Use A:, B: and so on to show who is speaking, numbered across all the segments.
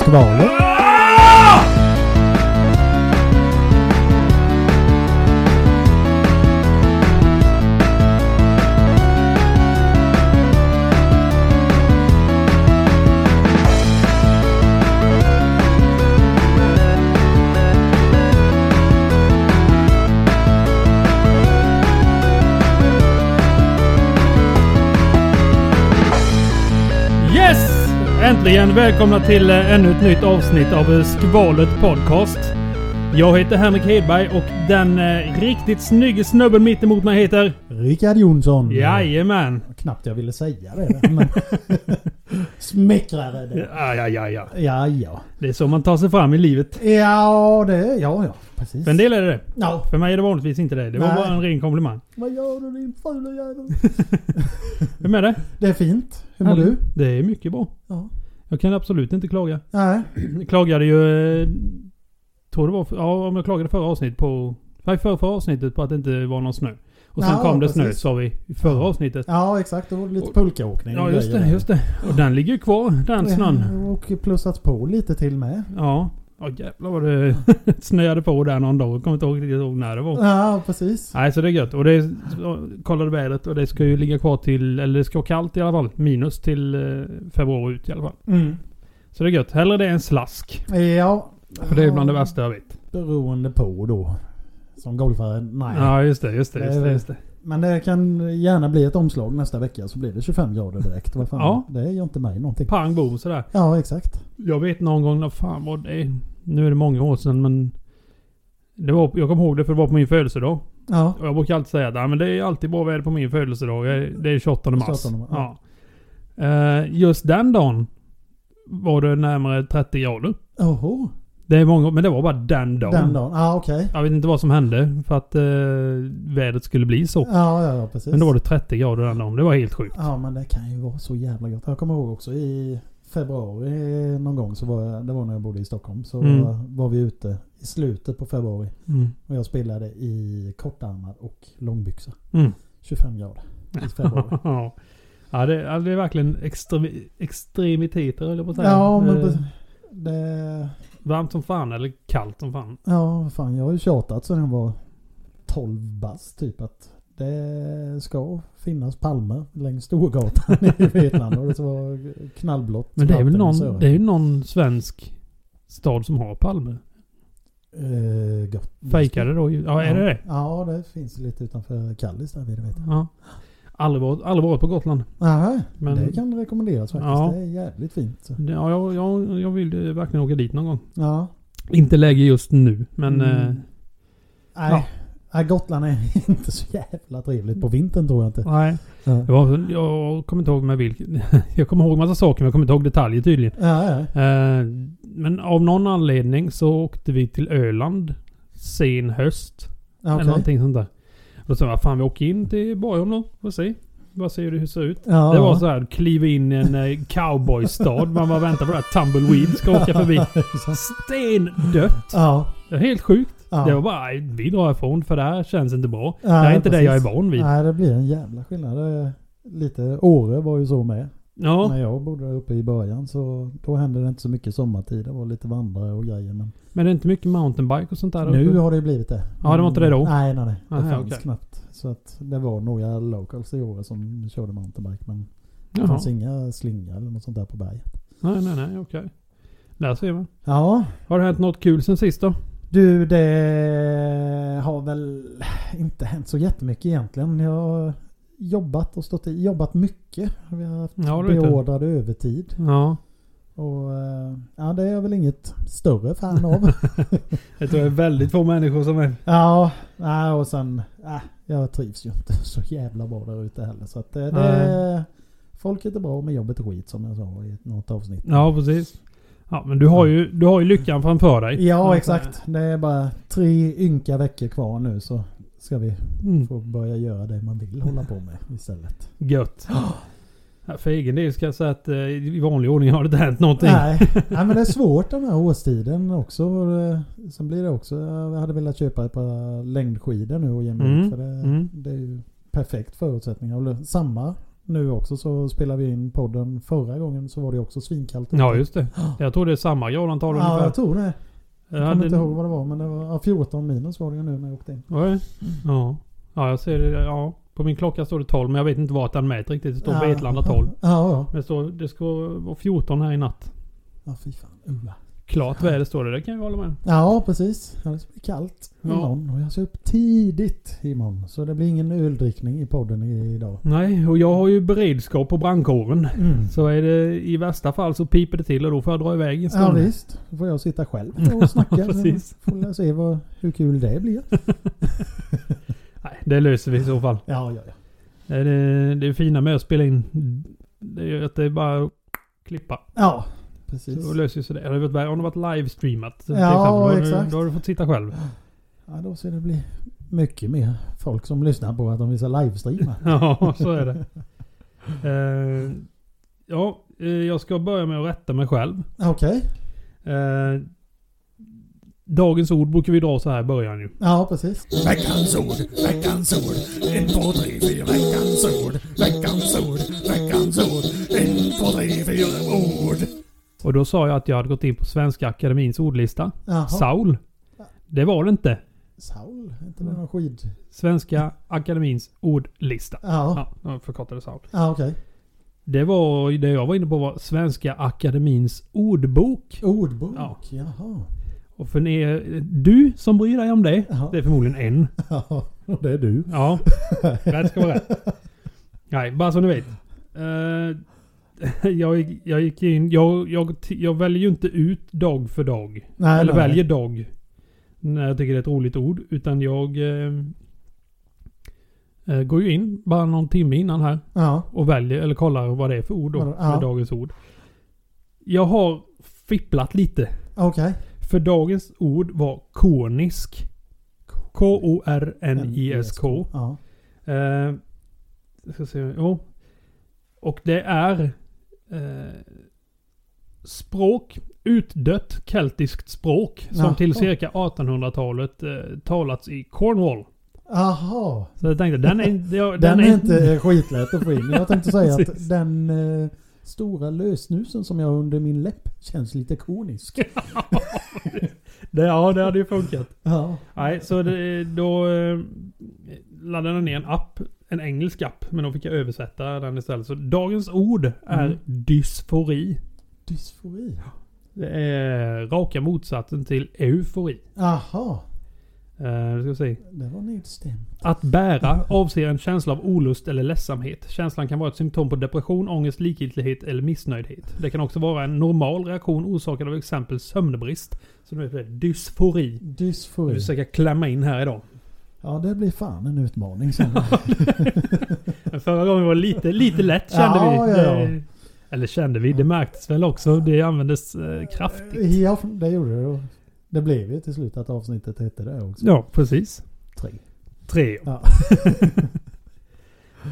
A: kvalet.
B: Yes! Äntligen välkomna till eh, ännu ett nytt avsnitt av eh, Skvalet Podcast. Jag heter Henrik Hedberg och den eh, riktigt snygge snubben mitt emot mig heter...
A: Rickard Jonsson.
B: Jajamän!
A: Knappt jag ville säga det. Men Smickrare det.
B: Ja, ja, ja, ja.
A: Ja, ja.
B: Det är så man tar sig fram i livet.
A: Ja, det... Ja, ja. Precis.
B: För en del är det det.
A: Ja.
B: För mig är det vanligtvis inte det. Det var
A: Nej.
B: bara en ren komplimang.
A: Vad gör du din fula jävel?
B: Vem är det?
A: Det är fint. Hur mår
B: Ja,
A: du?
B: Det är mycket bra.
A: Ja.
B: Jag kan absolut inte klaga.
A: Nej.
B: Jag klagade ju... eh, Tror det var... för- Ja, om jag klagade förra avsnittet på... Nej, förra, förra avsnittet på att det inte var någon snö. Och sen
A: Ja,
B: kom det snö,
A: precis.
B: sa vi i förra avsnittet.
A: Ja, exakt. Det var lite
B: Och-
A: pulkaåkning och
B: Ja, just
A: grejer
B: det.
A: där.
B: Just det. Och den ligger ju kvar, den snön.
A: Och plussat på lite till med.
B: Ja. Ja jävlar vad det snöade på där någon dag. Jag kommer inte ihåg riktigt ihåg när det var.
A: Ja, precis.
B: Nej, så det är gött. Och det är, så- kollade vädret och det ska ju ligga kvar till, eller det ska vara kallt i alla fall. Minus till eh, februari ut i alla fall.
A: Mm.
B: Så det är gött. Hellre det än slask.
A: Ja.
B: För det är bland det värsta jag vet.
A: Beroende på då. Som golfare? Nej.
B: Ja, just det. Just det.
A: Det är
B: Just det,
A: väl-
B: just det.
A: Men det kan gärna bli ett omslag nästa vecka så blir det 25 grader direkt. Vad fan?
B: Ja.
A: Det gör inte mig någonting.
B: Pang bom sådär.
A: Ja, exakt.
B: Jag vet någon gång när fan var det? Nu är det många år sedan men... Det var, jag kommer ihåg det för det var på min födelsedag.
A: Ja.
B: Och jag brukar alltid säga att "Nej, men det är alltid bra väder på min födelsedag. Jag är- Det är 28 mars.
A: 28 mars,
B: Ja. Eh, just den dagen var det närmare 30 grader.
A: Oho.
B: Det är många, men det var bara den dagen.
A: Den dagen. Ja, okej.
B: Jag vet inte vad som hände för att eh, vädret skulle bli så.
A: Ja, ja, ja, precis.
B: Men då var det 30 grader den dagen. Det var helt sjukt.
A: Ja, men det kan ju vara så jävla gott. Jag kommer ihåg också i februari någon gång så var jag, det var när jag bodde i Stockholm, så
B: Mm.
A: var vi ute i slutet på februari
B: Mm.
A: och jag spelade i kortärmad och långbyxa.
B: Mm.
A: 25 grader i februari.
B: ja. Ja, det, ja, det är verkligen extremi, extremiteter höll jag på att säga.
A: ja, men
B: Eh,
A: precis. det...
B: Varmt som fan eller kallt som fan.
A: Ja, vad fan. Jag har ju tjatat sedan jag var 12 bast typ att det ska finnas palmer längs Storgatan i Vetlanda. Och det ska vara knallblått.
B: Men det är väl
A: vatten och
B: någon,
A: så.
B: det är ju någon svensk stad som har Palme.
A: Eh, gott.
B: Fejkade då. ju- Ja, är det det?
A: Ja, det finns lite utanför Kallis där vid det vet jag.
B: Ja. Aldrig varit, aldrig varit på Gotland.
A: Aha,
B: Men-
A: Det kan rekommenderas faktiskt.
B: Ja.
A: Det är jävligt fint. så.
B: Ja, jag, jag, jag vill ju verkligen åka dit någon gång.
A: Ja.
B: Inte läge just nu, men...
A: Mm.
B: eh,
A: Nej.
B: Ja.
A: Nej, Gotland är inte så jävla trevligt på vintern tror jag inte.
B: nej.
A: Ja,
B: Det var, jag kommer inte ihåg med vilken... jag kommer ihåg massa saker, men jag kommer inte ihåg detaljer tydligen.
A: ja, ja.
B: Eh, men av någon anledning så åkte vi till Öland sen höst.
A: ja.
B: Eller
A: okej.
B: någonting sånt där. Då sa jag, fan vi åker in till Borgholm då. Får se. Bara se hur det ser ut.
A: Ja,
B: Det var så här, kliva in i en eh, cowboystad. Man bara väntar på det här Tumbleweed ska åka förbi. Stendött.
A: Ja.
B: Det var helt sjukt.
A: ja.
B: Det var bara, "Nej, vi drar ifrån för det här känns inte bra.
A: Ja,
B: det här är inte det
A: precis.
B: jag är van vid.
A: Nej, det blir en jävla skillnad. Det är lite, Åre var ju så med.
B: Ja,
A: När jag bodde där uppe i början så då hände det inte så mycket sommartid. Det var lite vandrare och grejer. Men
B: men det är inte mycket mountainbike och sånt där
A: nu
B: uppe.
A: har det blivit det.
B: Ja, det var inte det då?
A: Nej, nej, nej. Det
B: Nej,
A: fanns
B: okej.
A: knappt. Så att det var några locals i Åre som körde mountainbike. Men det
B: Jaha.
A: fanns inga slingor eller något sånt där på berget.
B: Nej, nej, nej, okej. Där ser man.
A: Ja,
B: Har det hänt något kul sen sist då?
A: Du, det har väl inte hänt så jättemycket egentligen. Jag har jobbat och stått i, jobbat mycket. Vi har haft
B: Ja, det vet jag.
A: beordrad övertid.
B: Ja.
A: Och eh, ja, det är jag väl inget större fan av.
B: Jag tror det är väldigt få människor som är...
A: ja, nej, och sen, äh, jag trivs ju inte så jävla bra där ute heller. Så att eh, det,
B: Nej.
A: folket är bra men jobbet är skit som jag sa i något avsnitt.
B: Ja, precis. Ja, men du har ju, du har ju lyckan framför dig.
A: Ja, exakt. Det är bara tre ynka veckor kvar nu så ska vi
B: Mm.
A: Får börja göra det man vill hålla på med istället.
B: Gött. Ja, För egen del ska jag säga att eh, i vanlig ordning har det inte hänt någonting.
A: Nej, nej, men det är svårt den här årstiden också. Eh, Sen blir det också, jag hade velat köpa ett par längdskidor nu och ge mig
B: Mm,
A: ut, för det,
B: mm.
A: det är ju perfekt förutsättningar. Och samma nu också så spelade vi in podden. Förra gången så var det också svinkallt.
B: Ja, just det. Jag tror det är samma gradantal
A: Ja, jag
B: ungefär.
A: tror det.
B: Jag
A: Jag
B: hade-
A: kommer inte ihåg vad det var men det var ja, 14 minus var det ju nu när jag åkte in.
B: Oj. Ja. ja, jag ser det. Ja. På min klocka står det 12 men jag vet inte vart den mäter riktigt. Det står
A: Ja.
B: Vetlanda 12.
A: Ja, ja.
B: Men det, står, det ska vara 14 här i natt.
A: Ja, fy fan. Ulla.
B: Klart väder står det. Det kan jag hålla med om.
A: Ja, precis. Ja, Det ska bli kallt
B: Ja.
A: imorgon. Och jag ska upp tidigt imorgon. Så det blir ingen öldrickning i podden i- idag.
B: Nej, och jag har ju beredskap på brandkåren.
A: Mm.
B: Så är det i värsta fall så piper det till och då får jag dra iväg en
A: Ja
B: stund.
A: visst, då får jag sitta själv och snacka.
B: Ja, precis.
A: Så Får jag se vad, hur kul det blir.
B: Nej, det löser vi i så fall.
A: Ja, ja, ja.
B: Nej, Det, det är fina med att spela in. Det är ju att det är bara att klippa.
A: Ja,
B: Så
A: precis.
B: löser sig det. Hade det varit värre om det varit livestreamat. till
A: Ja,
B: exempel, då har du-
A: exakt.
B: Då har du fått sitta själv.
A: Ja, då ser det bli mycket mer folk som lyssnar på att de vill livestreama.
B: Ja, så är det. Eh, ja, eh, jag ska börja med att rätta mig själv.
A: Okej.
B: Eh, dagens ord brukar vi dra så här i början ju.
A: Ja, precis.
C: Veckans ord, veckans ord, en, två, tre, fyra, veckans ord, veckans ord, veckans ord, en, två, tre, fyra, ord.
B: Och då sa jag att jag hade gått in på Svenska Akademins ordlista.
A: Jaha.
B: Saul. Det var det inte.
A: Saul? Är inte det någon skid...
B: Svenska Akademins ordlista.
A: Ja,
B: Ja, jag förkortade Saul.
A: ja okej.
B: Det var ju det jag var inne på var Svenska Akademins ordbok.
A: Ordbok?
B: Ja.
A: Jaha.
B: Och för ni, du som bryr dig om det.
A: Ja.
B: Det är förmodligen en.
A: Ja, och det är du.
B: Ja, rätt ska vara rätt. Nej, bara så ni vet. Eh, jag, gick- jag gick in, jag, jag, jag väljer ju inte ut dag för dag.
A: Nej,
B: eller
A: nej.
B: väljer dag. När jag tycker det är ett roligt ord. Utan jag eh, eh, går ju in bara någon timme innan här.
A: Ja.
B: och väljer eller kollar vad det är för ord då,
A: Vad-
B: med
A: ja.
B: dagens ord. Jag har fipplat lite.
A: Okej.
B: För dagens ord var kornisk. K-O-R-N-I-S-K.
A: Ja.
B: Eh, ska se. Jo. Och det är eh, språk, utdött keltiskt språk som
A: Jaha.
B: till cirka 1800-talet eh, talats i Cornwall.
A: Jaha.
B: Så jag tänkte den är, den
A: Den är inte eh, skitlätt att få in. Jag tänkte säga
B: Precis.
A: att den eh, stora lösnusen som jag har under min läpp känns lite konisk.
B: det, ja, det hade ju funkat.
A: Ja.
B: Nej, så det, då eh, laddade jag ner en app. En engelsk app. Men då fick jag översätta den istället. Så dagens ord är
A: Mm.
B: dysfori.
A: Dysfori.
B: Det är raka motsatsen till eufori.
A: Jaha.
B: Eh, nu ska vi se.
A: Det var nedstämt.
B: Att bära avser en känsla av olust eller ledsamhet. Känslan kan vara ett symptom på depression, ångest, likgiltighet eller missnöjdhet. Det kan också vara en normal reaktion orsakad av exempel sömnbrist. Så nu är det dysfori. Jag
A: Dysfori.
B: försöker klämma in här idag.
A: Ja, det blir fan en utmaning sen.
B: Men Förra gången var det lite, lite lätt kände
A: Ja,
B: vi.
A: ja, ja.
B: Det, eller kände vi, det märktes väl också. Det användes eh, kraftigt.
A: ja, det gjorde det. Och Det blev ju till slut att avsnittet hette det också.
B: Ja, precis.
A: Tre.
B: Tre.
A: Ja.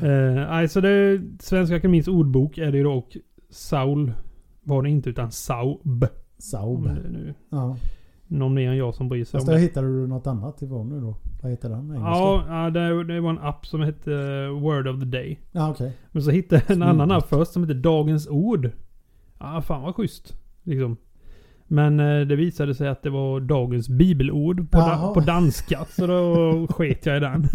B: Eh, nej, så det Svenska Akademiens ordbok är det ju då och Saul var det inte utan Saub. Om
A: Saub.
B: det är nu
A: Ja.
B: någon mer än jag som bryr sig om
A: Fast där
B: det.
A: hittade du något annat ifrån nu då? Vad heter den? Engelska?
B: Ja, ja, det, det var en app som hette eh, Word of the Day.
A: Ja, Ah, okej.
B: Men så hittade jag en
A: Snyggt.
B: annan app först som heter Dagens Ord. Ja, fan vad schysst. Liksom. Men eh, det visade sig att det var dagens bibelord på, da-
A: Jaha.
B: på danska. Så då sket jag i den.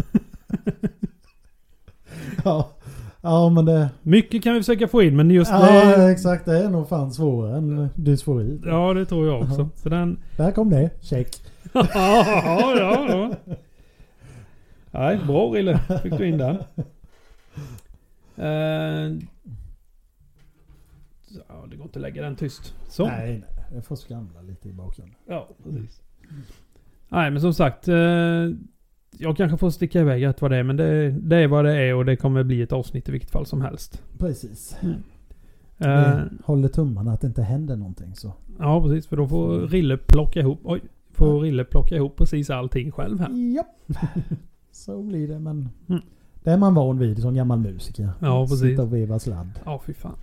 A: Ja. ja, men det...
B: Mycket kan vi försöka få in men just
A: Ja,
B: det.
A: exakt. Det är nog fan svårare än dysfori.
B: Ja det tror jag också.
A: Jaha.
B: Så den...
A: Där kom det. Check.
B: ja, ja, ja. Nej, bra Rille. Fick du in den. Eh, ja, det går inte att lägga den tyst. Så.
A: Nej, nej. Jag får skramla lite i bakgrunden.
B: Ja, precis. Nej, men som sagt. Eh, jag kanske får sticka iväg rätt vad det är, men det, det är vad det är och det kommer bli ett avsnitt i vilket fall som helst.
A: Precis.
B: Eh,
A: Vi håller tummarna att det inte händer någonting så.
B: Ja, precis. För då får Rille plocka ihop... Oj! Får Rille plocka ihop precis allting själv här.
A: Japp. Så blir det men.
B: Mm.
A: Det är man van vid som gammal musiker.
B: Ja, precis.
A: Sitta och veva sladd.
B: Ja, fy fan.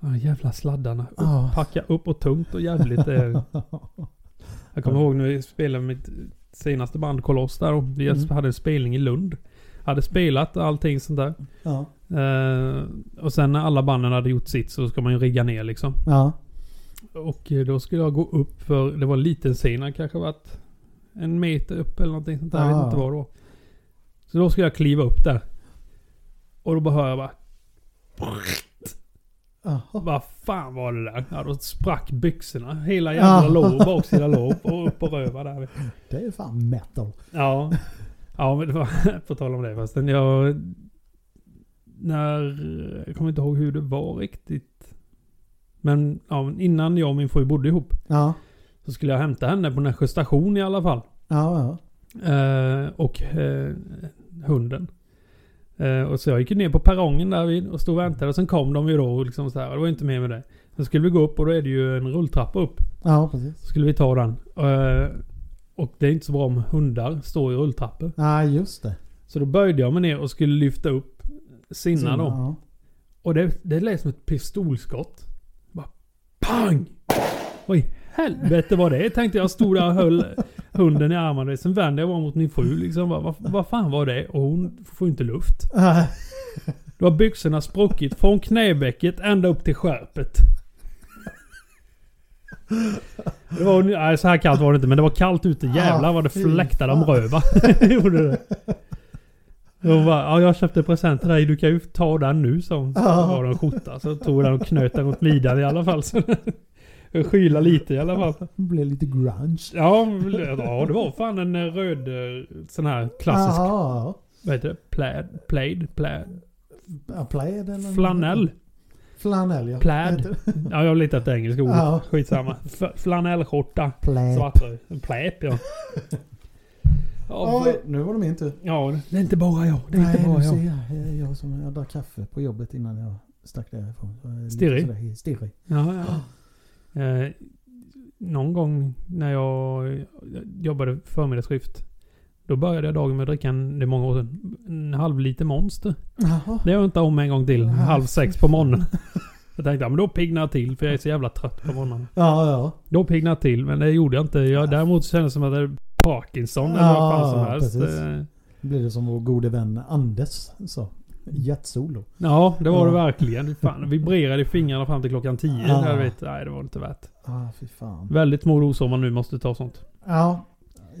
B: Ja, jävla sladdarna.
A: Ja.
B: Packa upp och tungt och jävligt. Eh. Jag kommer ihåg när vi spelade mitt senaste band Koloss där. Och vi
A: Mm.
B: hade en spelning i Lund. Hade spelat allting sånt där.
A: Ja.
B: Eh, och sen när alla banden hade gjort sitt så ska man ju rigga ner liksom.
A: Ja.
B: Och eh, då skulle jag gå upp för, det var en liten scen, kanske varit en meter upp eller någonting sånt där.
A: Ah.
B: Jag vet inte vad det var. Så då skulle jag kliva upp där. Och då bara hör jag bara,
A: Jaha.
B: vad fan var det där? Ja, då sprack byxorna. Hela jävla
A: Ah.
B: lår, baksida lår och upp och röva där.
A: Det är fan metal.
B: Ja. Ja, men det var, på tal om det fastän jag... När... Jag kommer inte ihåg hur det var riktigt. Men ja, men innan jag och min fru bodde ihop
A: Ja.
B: så skulle jag hämta henne på Nässjö station i alla fall.
A: Ja, ja.
B: Eh, och eh, hunden. Eh, och så jag gick ju ner på perrongen där vid och stod och väntade. Och sen kom de ju då och liksom så här. och Det var inte mer med det. Sen skulle vi gå upp och då är det ju en rulltrappa upp.
A: Ja, precis.
B: Så skulle vi ta den. Eh, och det är inte så bra om hundar står i rulltrappor.
A: Nej, just det.
B: Så då böjde jag mig ner och skulle lyfta upp Sinna då.
A: Ja.
B: Och det, det lät som ett pistolskott. Bara pang! Vad i helvete var det? Tänkte jag stod där och höll hunden i armarna. Sen vände jag mig om mot min fru liksom. Bara, Vad, vad fan var det? Och hon får ju inte luft.
A: Äh,
B: Då har byxorna spruckit från knäbäcket ända upp till skärpet. Det var, nej, så här kallt var det inte, men det var kallt ute. Jävlar vad det
A: Ah, fy
B: fläktade om
A: fan.
B: röva. Gjorde det. Hon bara, ja, jag köpte en present till dig. Du kan ju ta den nu, sa hon.
A: Ja.
B: Var en skjorta. Så tog hon den och knöt den runt midjan i alla fall. Så den skyla lite i alla fall.
A: det blev lite grunge.
B: Ja, ja, det var fan en eh, röd eh, sån här klassisk,
A: Jaha,
B: vad heter det? Plaid, plaid, plaid,
A: ja. Plaid eller?
B: flanell.
A: Flanell, ja.
B: Plaid. Ja, jag har letat efter engelska ordet.
A: Ja.
B: Skitsamma. F- flanellskjorta.
A: Plaid.
B: Svartröd. Pläp ja. Ja,
A: Oj, nu var det min tur.
B: för- ja, det är inte bara jag. Det är
A: Nej,
B: inte bara
A: nu ser
B: jag.
A: jag. Jag, jag, som, jag drack kaffe på jobbet innan jag stack därifrån. Så jag är lite
B: Stirrig.
A: sådär Stirrig.
B: Ja, ja. Eh, någon gång när jag jobbade förmiddagsskift. Då började jag dagen med att dricka en, det är många år sedan, en halv liter Monster.
A: Jaha.
B: Det gör jag inte om en gång till.
A: Nej,
B: Halv sex
A: fy
B: på morgonen. Jag tänkte, ja men då piggnar jag till för jag är så jävla trött på morgonen.
A: Ja, ja.
B: Då piggnade jag till, men det gjorde jag inte. Jag, däremot så kändes det som att jag hade Parkinson eller vad fan som
A: Ja,
B: helst.
A: precis.
B: Eh,
A: Då blir det som vår gode vän Anders sa. Jetsolo.
B: Ja, det var det
A: Ja.
B: verkligen. Fan, det vibrerade i fingrarna fram till klockan tio.
A: Ja.
B: Jag vet, nej, det var inte värt.
A: Ah, fy fan.
B: Väldigt små rosor om man nu måste ta sånt.
A: Ja.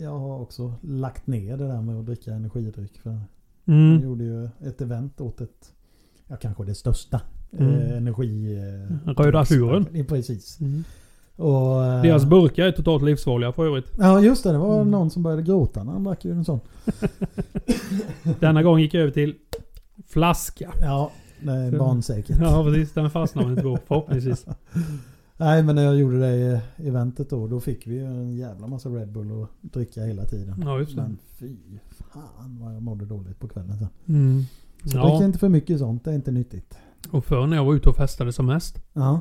A: Jag har också lagt ner det där med att dricka energidryck. För Jag
B: Mm.
A: gjorde ju ett event åt ett, ja kanske det största,
B: Mm.
A: eh, energi... Eh,
B: Röda Azuren.
A: Ja, Precis.
B: Mm.
A: Och, eh,
B: Deras burkar är totalt livsfarliga för övrigt.
A: Ja just det, det var
B: Mm.
A: någon som började gråta när han drack ur en sån.
B: Denna gång gick jag över till flaska.
A: Ja, det är
B: Så-
A: barnsäkert.
B: Ja, precis. Den fastnar man inte på förhoppningsvis.
A: Nej men när jag gjorde det eh, eventet då, då fick vi ju en jävla massa Red Bull att dricka hela tiden.
B: Ja, Mm, just det.
A: Men fy fan vad jag mådde dåligt på kvällen sen.
B: Mm.
A: Så drick
B: Ja,
A: inte för mycket sånt, det är inte nyttigt.
B: och förr när jag var ute och festade som mest
A: Ja,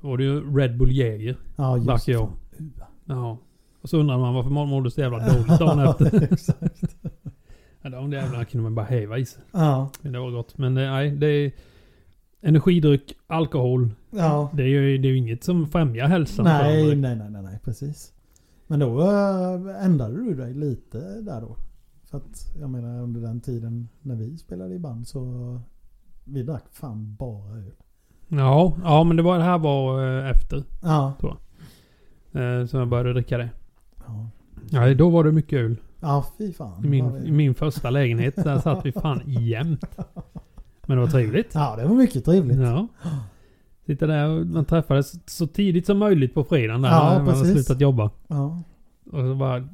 B: var det ju Red Bull Jäger.
A: ja just
B: Drack jag.
A: fan.
B: Ja. Och så undrar man varför man mådde så jävla dåligt dagen efter.
A: Exakt.
B: Ja, de jävlarna kunde man bara häva i sig.
A: Ja,
B: Men Det var gott. Men eh, nej, det är energidryck, alkohol.
A: ja.
B: Det är ju, det är ju inget som främjar hälsan. för
A: Nej,
B: andra.
A: nej, nej, nej, nej, precis. Men då eh, ändrade du dig lite där då. För att jag menar under den tiden när vi spelade i band så vi drack fan bara öl.
B: Ja, ja, men det, var, det här var eh, efter
A: Ja.
B: eh, som jag började dricka det.
A: Ja,
B: Nej, då var det mycket öl.
A: ja fy fan.
B: I
A: Ja,
B: min,
A: det-
B: i min första lägenhet där satt vi fan jämt. Men det var trevligt.
A: Ja, det var mycket trevligt.
B: Ja. Sitta där och man träffades så tidigt som möjligt på fredagen där
A: Ja,
B: när man hade
A: precis.
B: slutat jobba.
A: Ja,
B: Och så bara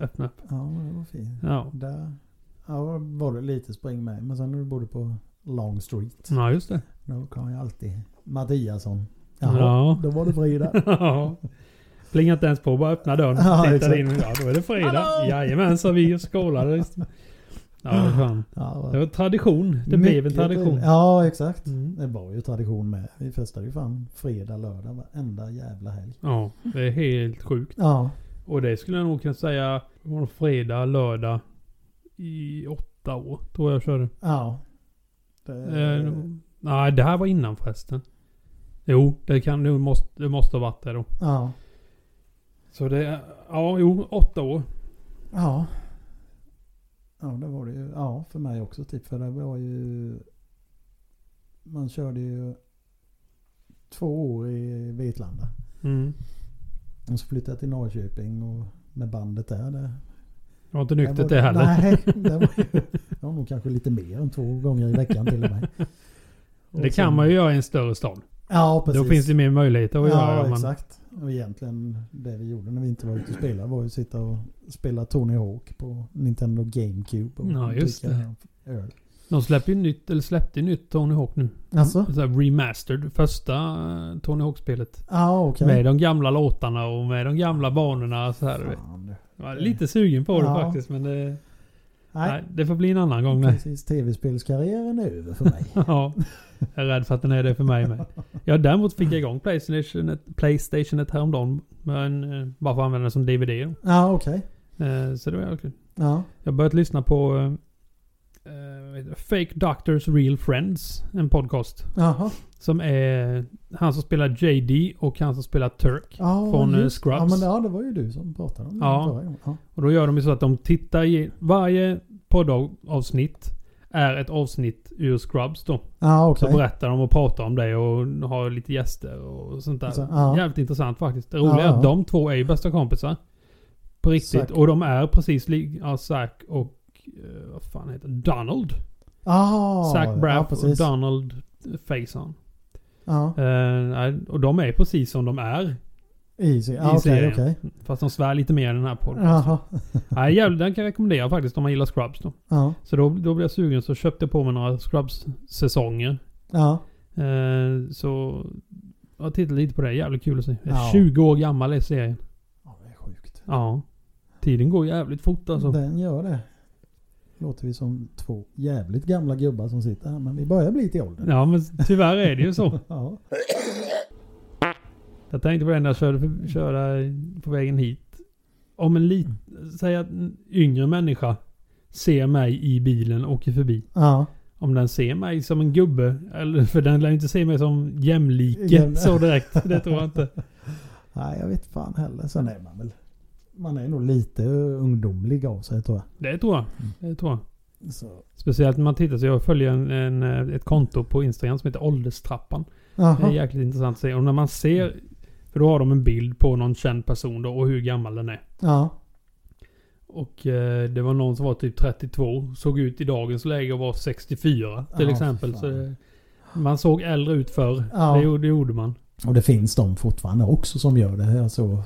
B: öppna upp.
A: ja men det var fint.
B: Ja,
A: Där ja, var det lite spring med. Men sen när du bodde på Long Street.
B: ja just det.
A: Då kom ju alltid Mattiasson. Jaha,
B: Ja.
A: då var det fredag.
B: Ja. Plingar inte ens på, bara öppna dörren.
A: Ja,
B: tittar
A: exakt.
B: in. Ja, då är det fredag. Jajamän, så vi och skålade. Ja, vad fan.
A: Ja,
B: Det var tradition. Det blev en
A: Mycket
B: tradition.
A: trevligt. Ja, exakt.
B: Mm.
A: Det var ju tradition med. Vi festade ju fan fredag, lördag varenda jävla helg.
B: Ja, det är helt sjukt.
A: Ja.
B: Och det skulle jag nog kunna säga det var nog fredag, lördag i åtta år tror jag körde.
A: Ja. Det,
B: Eh, nej, det här var innan förresten. Jo, det, kan, det, måste, det måste ha varit det då.
A: ja.
B: Så det, ja, jo, åtta år.
A: Ja. Ja, det var det ju. Ja, för mig också typ. För det var ju man körde ju två år i Vetlanda.
B: Mm.
A: Och så flyttade jag till Norrköping och med bandet där. Det,
B: Det var inte
A: där
B: nyktert det
A: var-
B: heller.
A: Nej, det var ju det var nog kanske lite mer än två gånger i veckan till och med. Och
B: det kan
A: sen-
B: man ju göra i en större stad.
A: Ja, precis.
B: Då finns det mer möjligheter att göra.
A: Ja,
B: om Man,
A: exakt. Och egentligen det vi gjorde när vi inte var ute och spelade var ju att sitta och spela Tony Hawk på Nintendo GameCube. Och
B: Ja, just
A: dricka Öl.
B: de släpper ju nytt, eller släppte ju nytt Tony Hawk nu.
A: Alltså?
B: Så här remastered. Första eh, Tony Hawk-spelet.
A: Ja, okej.
B: Med de gamla låtarna och med de gamla banorna. Så här, du vet.
A: Fan, du.
B: Jag var lite sugen på det
A: Ja.
B: faktiskt men det, nej.
A: Nej,
B: det får bli en annan gång. Nej.
A: precis. Tv-spelskarriären är över för mig.
B: Ja, jag är rädd för att den är det för mig med. Ja, däremot fick jag igång Playstation, ett- Playstation ett häromdagen. Men eh, bara för att använda den som DVD. då.
A: ja, okej.
B: Eh, så det var jävligt kul.
A: Ja.
B: Jag har börjat lyssna på eh, eh, vad heter det? Fake Doctors Real Friends. En podcast.
A: Jaha.
B: Som är han som spelar JD och han som spelar Turk.
A: Ja,
B: Från, eh,
A: just-
B: Scrubs.
A: Ja, men ja, det var ju du som pratade om det
B: Ja.
A: förra gången. Ja.
B: Och då gör de ju så att de tittar i varje poddavsnitt. Är ett avsnitt ur Scrubs då.
A: Ja,
B: Så
A: okej.
B: berättar de och pratar om det och har lite gäster och sånt där.
A: Så, Alltså, ja.
B: Jävligt intressant faktiskt. Det roliga
A: Ja,
B: är
A: ja.
B: att de två är ju bästa kompisar. På riktigt.
A: Zack.
B: Och de är precis lik... Ja, Zack och... eh, vad fan heter det? Donald.
A: Ah,
B: Zack
A: ja,
B: Braff och
A: precis.
B: Donald Faison.
A: Ja,
B: Eh, nej, och de är precis som de är.
A: easy.
B: i
A: Ja, okej,
B: serien.
A: okej.
B: Fast de svär lite mer i den här podden.
A: Jaha.
B: Nej, jävligt, den kan jag rekommendera faktiskt om man gillar Scrubs då.
A: Ja.
B: Så då, då blev jag sugen så köpte jag på mig några Scrubs-säsonger.
A: Ja.
B: Eh, så jag tittade lite på det. Jävligt kul att se. Jag är
A: Ja.
B: 20 år gammal är serien.
A: Ja, det är sjukt.
B: Ja. Tiden går jävligt fort alltså.
A: Den gör det. Låter vi som två jävligt gamla gubbar som sitter här, men vi börjar bli till åldern.
B: Ja men tyvärr är det ju så.
A: Ja.
B: Jag tänkte på det när jag körde, för, körde på vägen hit. Om en liten, säg att en yngre människa ser mig i bilen och åker förbi.
A: Ja.
B: Om den ser mig som en gubbe, eller för den lär ju inte se mig som jämlike
A: Jämn-
B: så direkt. Det tror jag inte.
A: Nej, jag vet fan heller. Sen är man väl... Man är nog lite ungdomlig av sig tror
B: Det tror jag.
A: Mm.
B: Det tror jag.
A: jag. Så.
B: Speciellt när man tittar så jag följer en, en, eh, ett konto på Instagram som heter Ålderstrappan. Det är
A: Jaha.
B: jäkligt intressant att se. Och när man ser, för då har de en bild på någon känd person då och hur gammal den är.
A: Ja.
B: Och eh, det var någon som var typ 32. Såg ut i dagens läge och var 64 till
A: Ja,
B: exempel.
A: fan.
B: Så det, man såg äldre ut förr.
A: Ja.
B: Det, gjorde- det gjorde man.
A: Och det finns de fortfarande också som gör det. Jag såg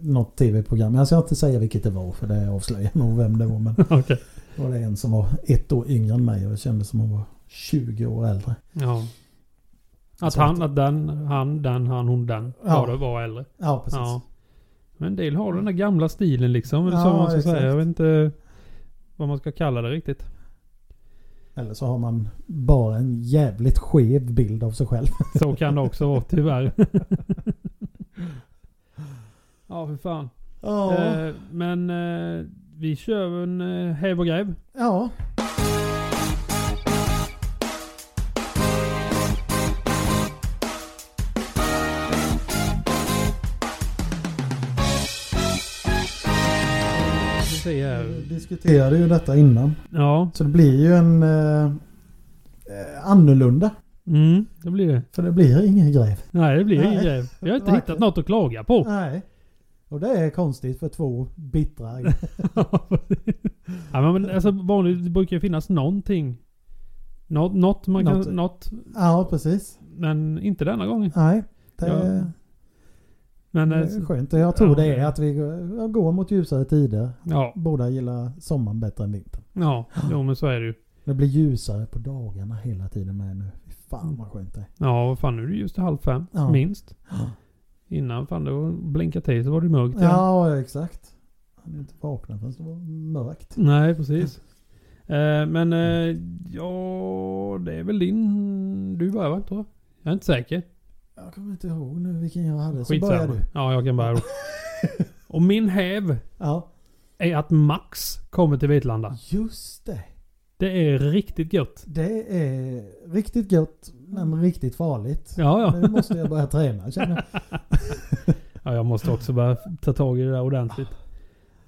A: något tv-program. Jag ska inte säga vilket det var för det avslöjar nog vem det var. Men
B: Okej.
A: det var det en som var ett år yngre än mig och det kändes som hon var 20 år äldre.
B: Ja. Att
A: Så
B: han,
A: Alltså, att-
B: att den, han, den, han, hon, den.
A: Ja.
B: Ja. det var äldre.
A: Ja, precis.
B: Ja. Men en del har den där gamla stilen liksom. Eller
A: Ja,
B: som man ska
A: exakt.
B: säga. Jag vet inte vad man ska kalla det riktigt.
A: Eller så har man bara en jävligt skev bild av sig själv.
B: Så kan det också vara tyvärr. ja, för fan.
A: Ja,
B: Eh, men eh, vi kör en eh, häv och gräv.
A: ja.
B: Vi får se här.
A: Vi diskuterade ju detta innan.
B: Ja,
A: Så det blir ju en eh, eh, annorlunda.
B: mm, det blir det.
A: För det blir ingen gräv.
B: Nej, det blir
A: Nej.
B: ingen gräv. Vi har inte
A: Verkligen.
B: hittat något att klaga på.
A: Nej. Och det är konstigt för två bittra
B: ja, men alltså, vanligt det brukar ju finnas någonting. Nå- Något man kan...
A: Något.
B: Något.
A: Ja, precis.
B: Men inte denna gången.
A: Nej. Det,
B: Ja, Men...
A: det
B: eh,
A: är skönt. Jag tror det är
B: ja.
A: att vi går mot ljusare tider.
B: Ja,
A: Båda gillar sommaren bättre än vintern.
B: ja. Jo, men så är det ju.
A: Det blir ljusare på dagarna hela tiden med nu. Fy Fan
B: Mm.
A: vad skönt det är.
B: Ja, vad fan nu är det just halv fem.
A: Ja.
B: Minst.
A: Ja.
B: Innan fan det var blinka till så var det mörkt. igen.
A: Ja, exakt. Han är inte vaknat förrän det var mörkt.
B: Nej, precis. Eh, men eh, ja, det är väl din... Du börjar va, tror jag? Jag är inte säker.
A: Jag kommer inte ihåg nu vilken jag hade. Så börjar
B: Skitsamma.
A: du.
B: Ja, jag kan börja då. Och min häv
A: Ja,
B: är att Max kommer till Vetlanda.
A: just det.
B: Det är riktigt gött.
A: Det är riktigt gött men riktigt farligt.
B: Ja, Mm. ja.
A: Nu måste jag börja träna känner jag.
B: ja jag måste också börja ta tag i det där ordentligt.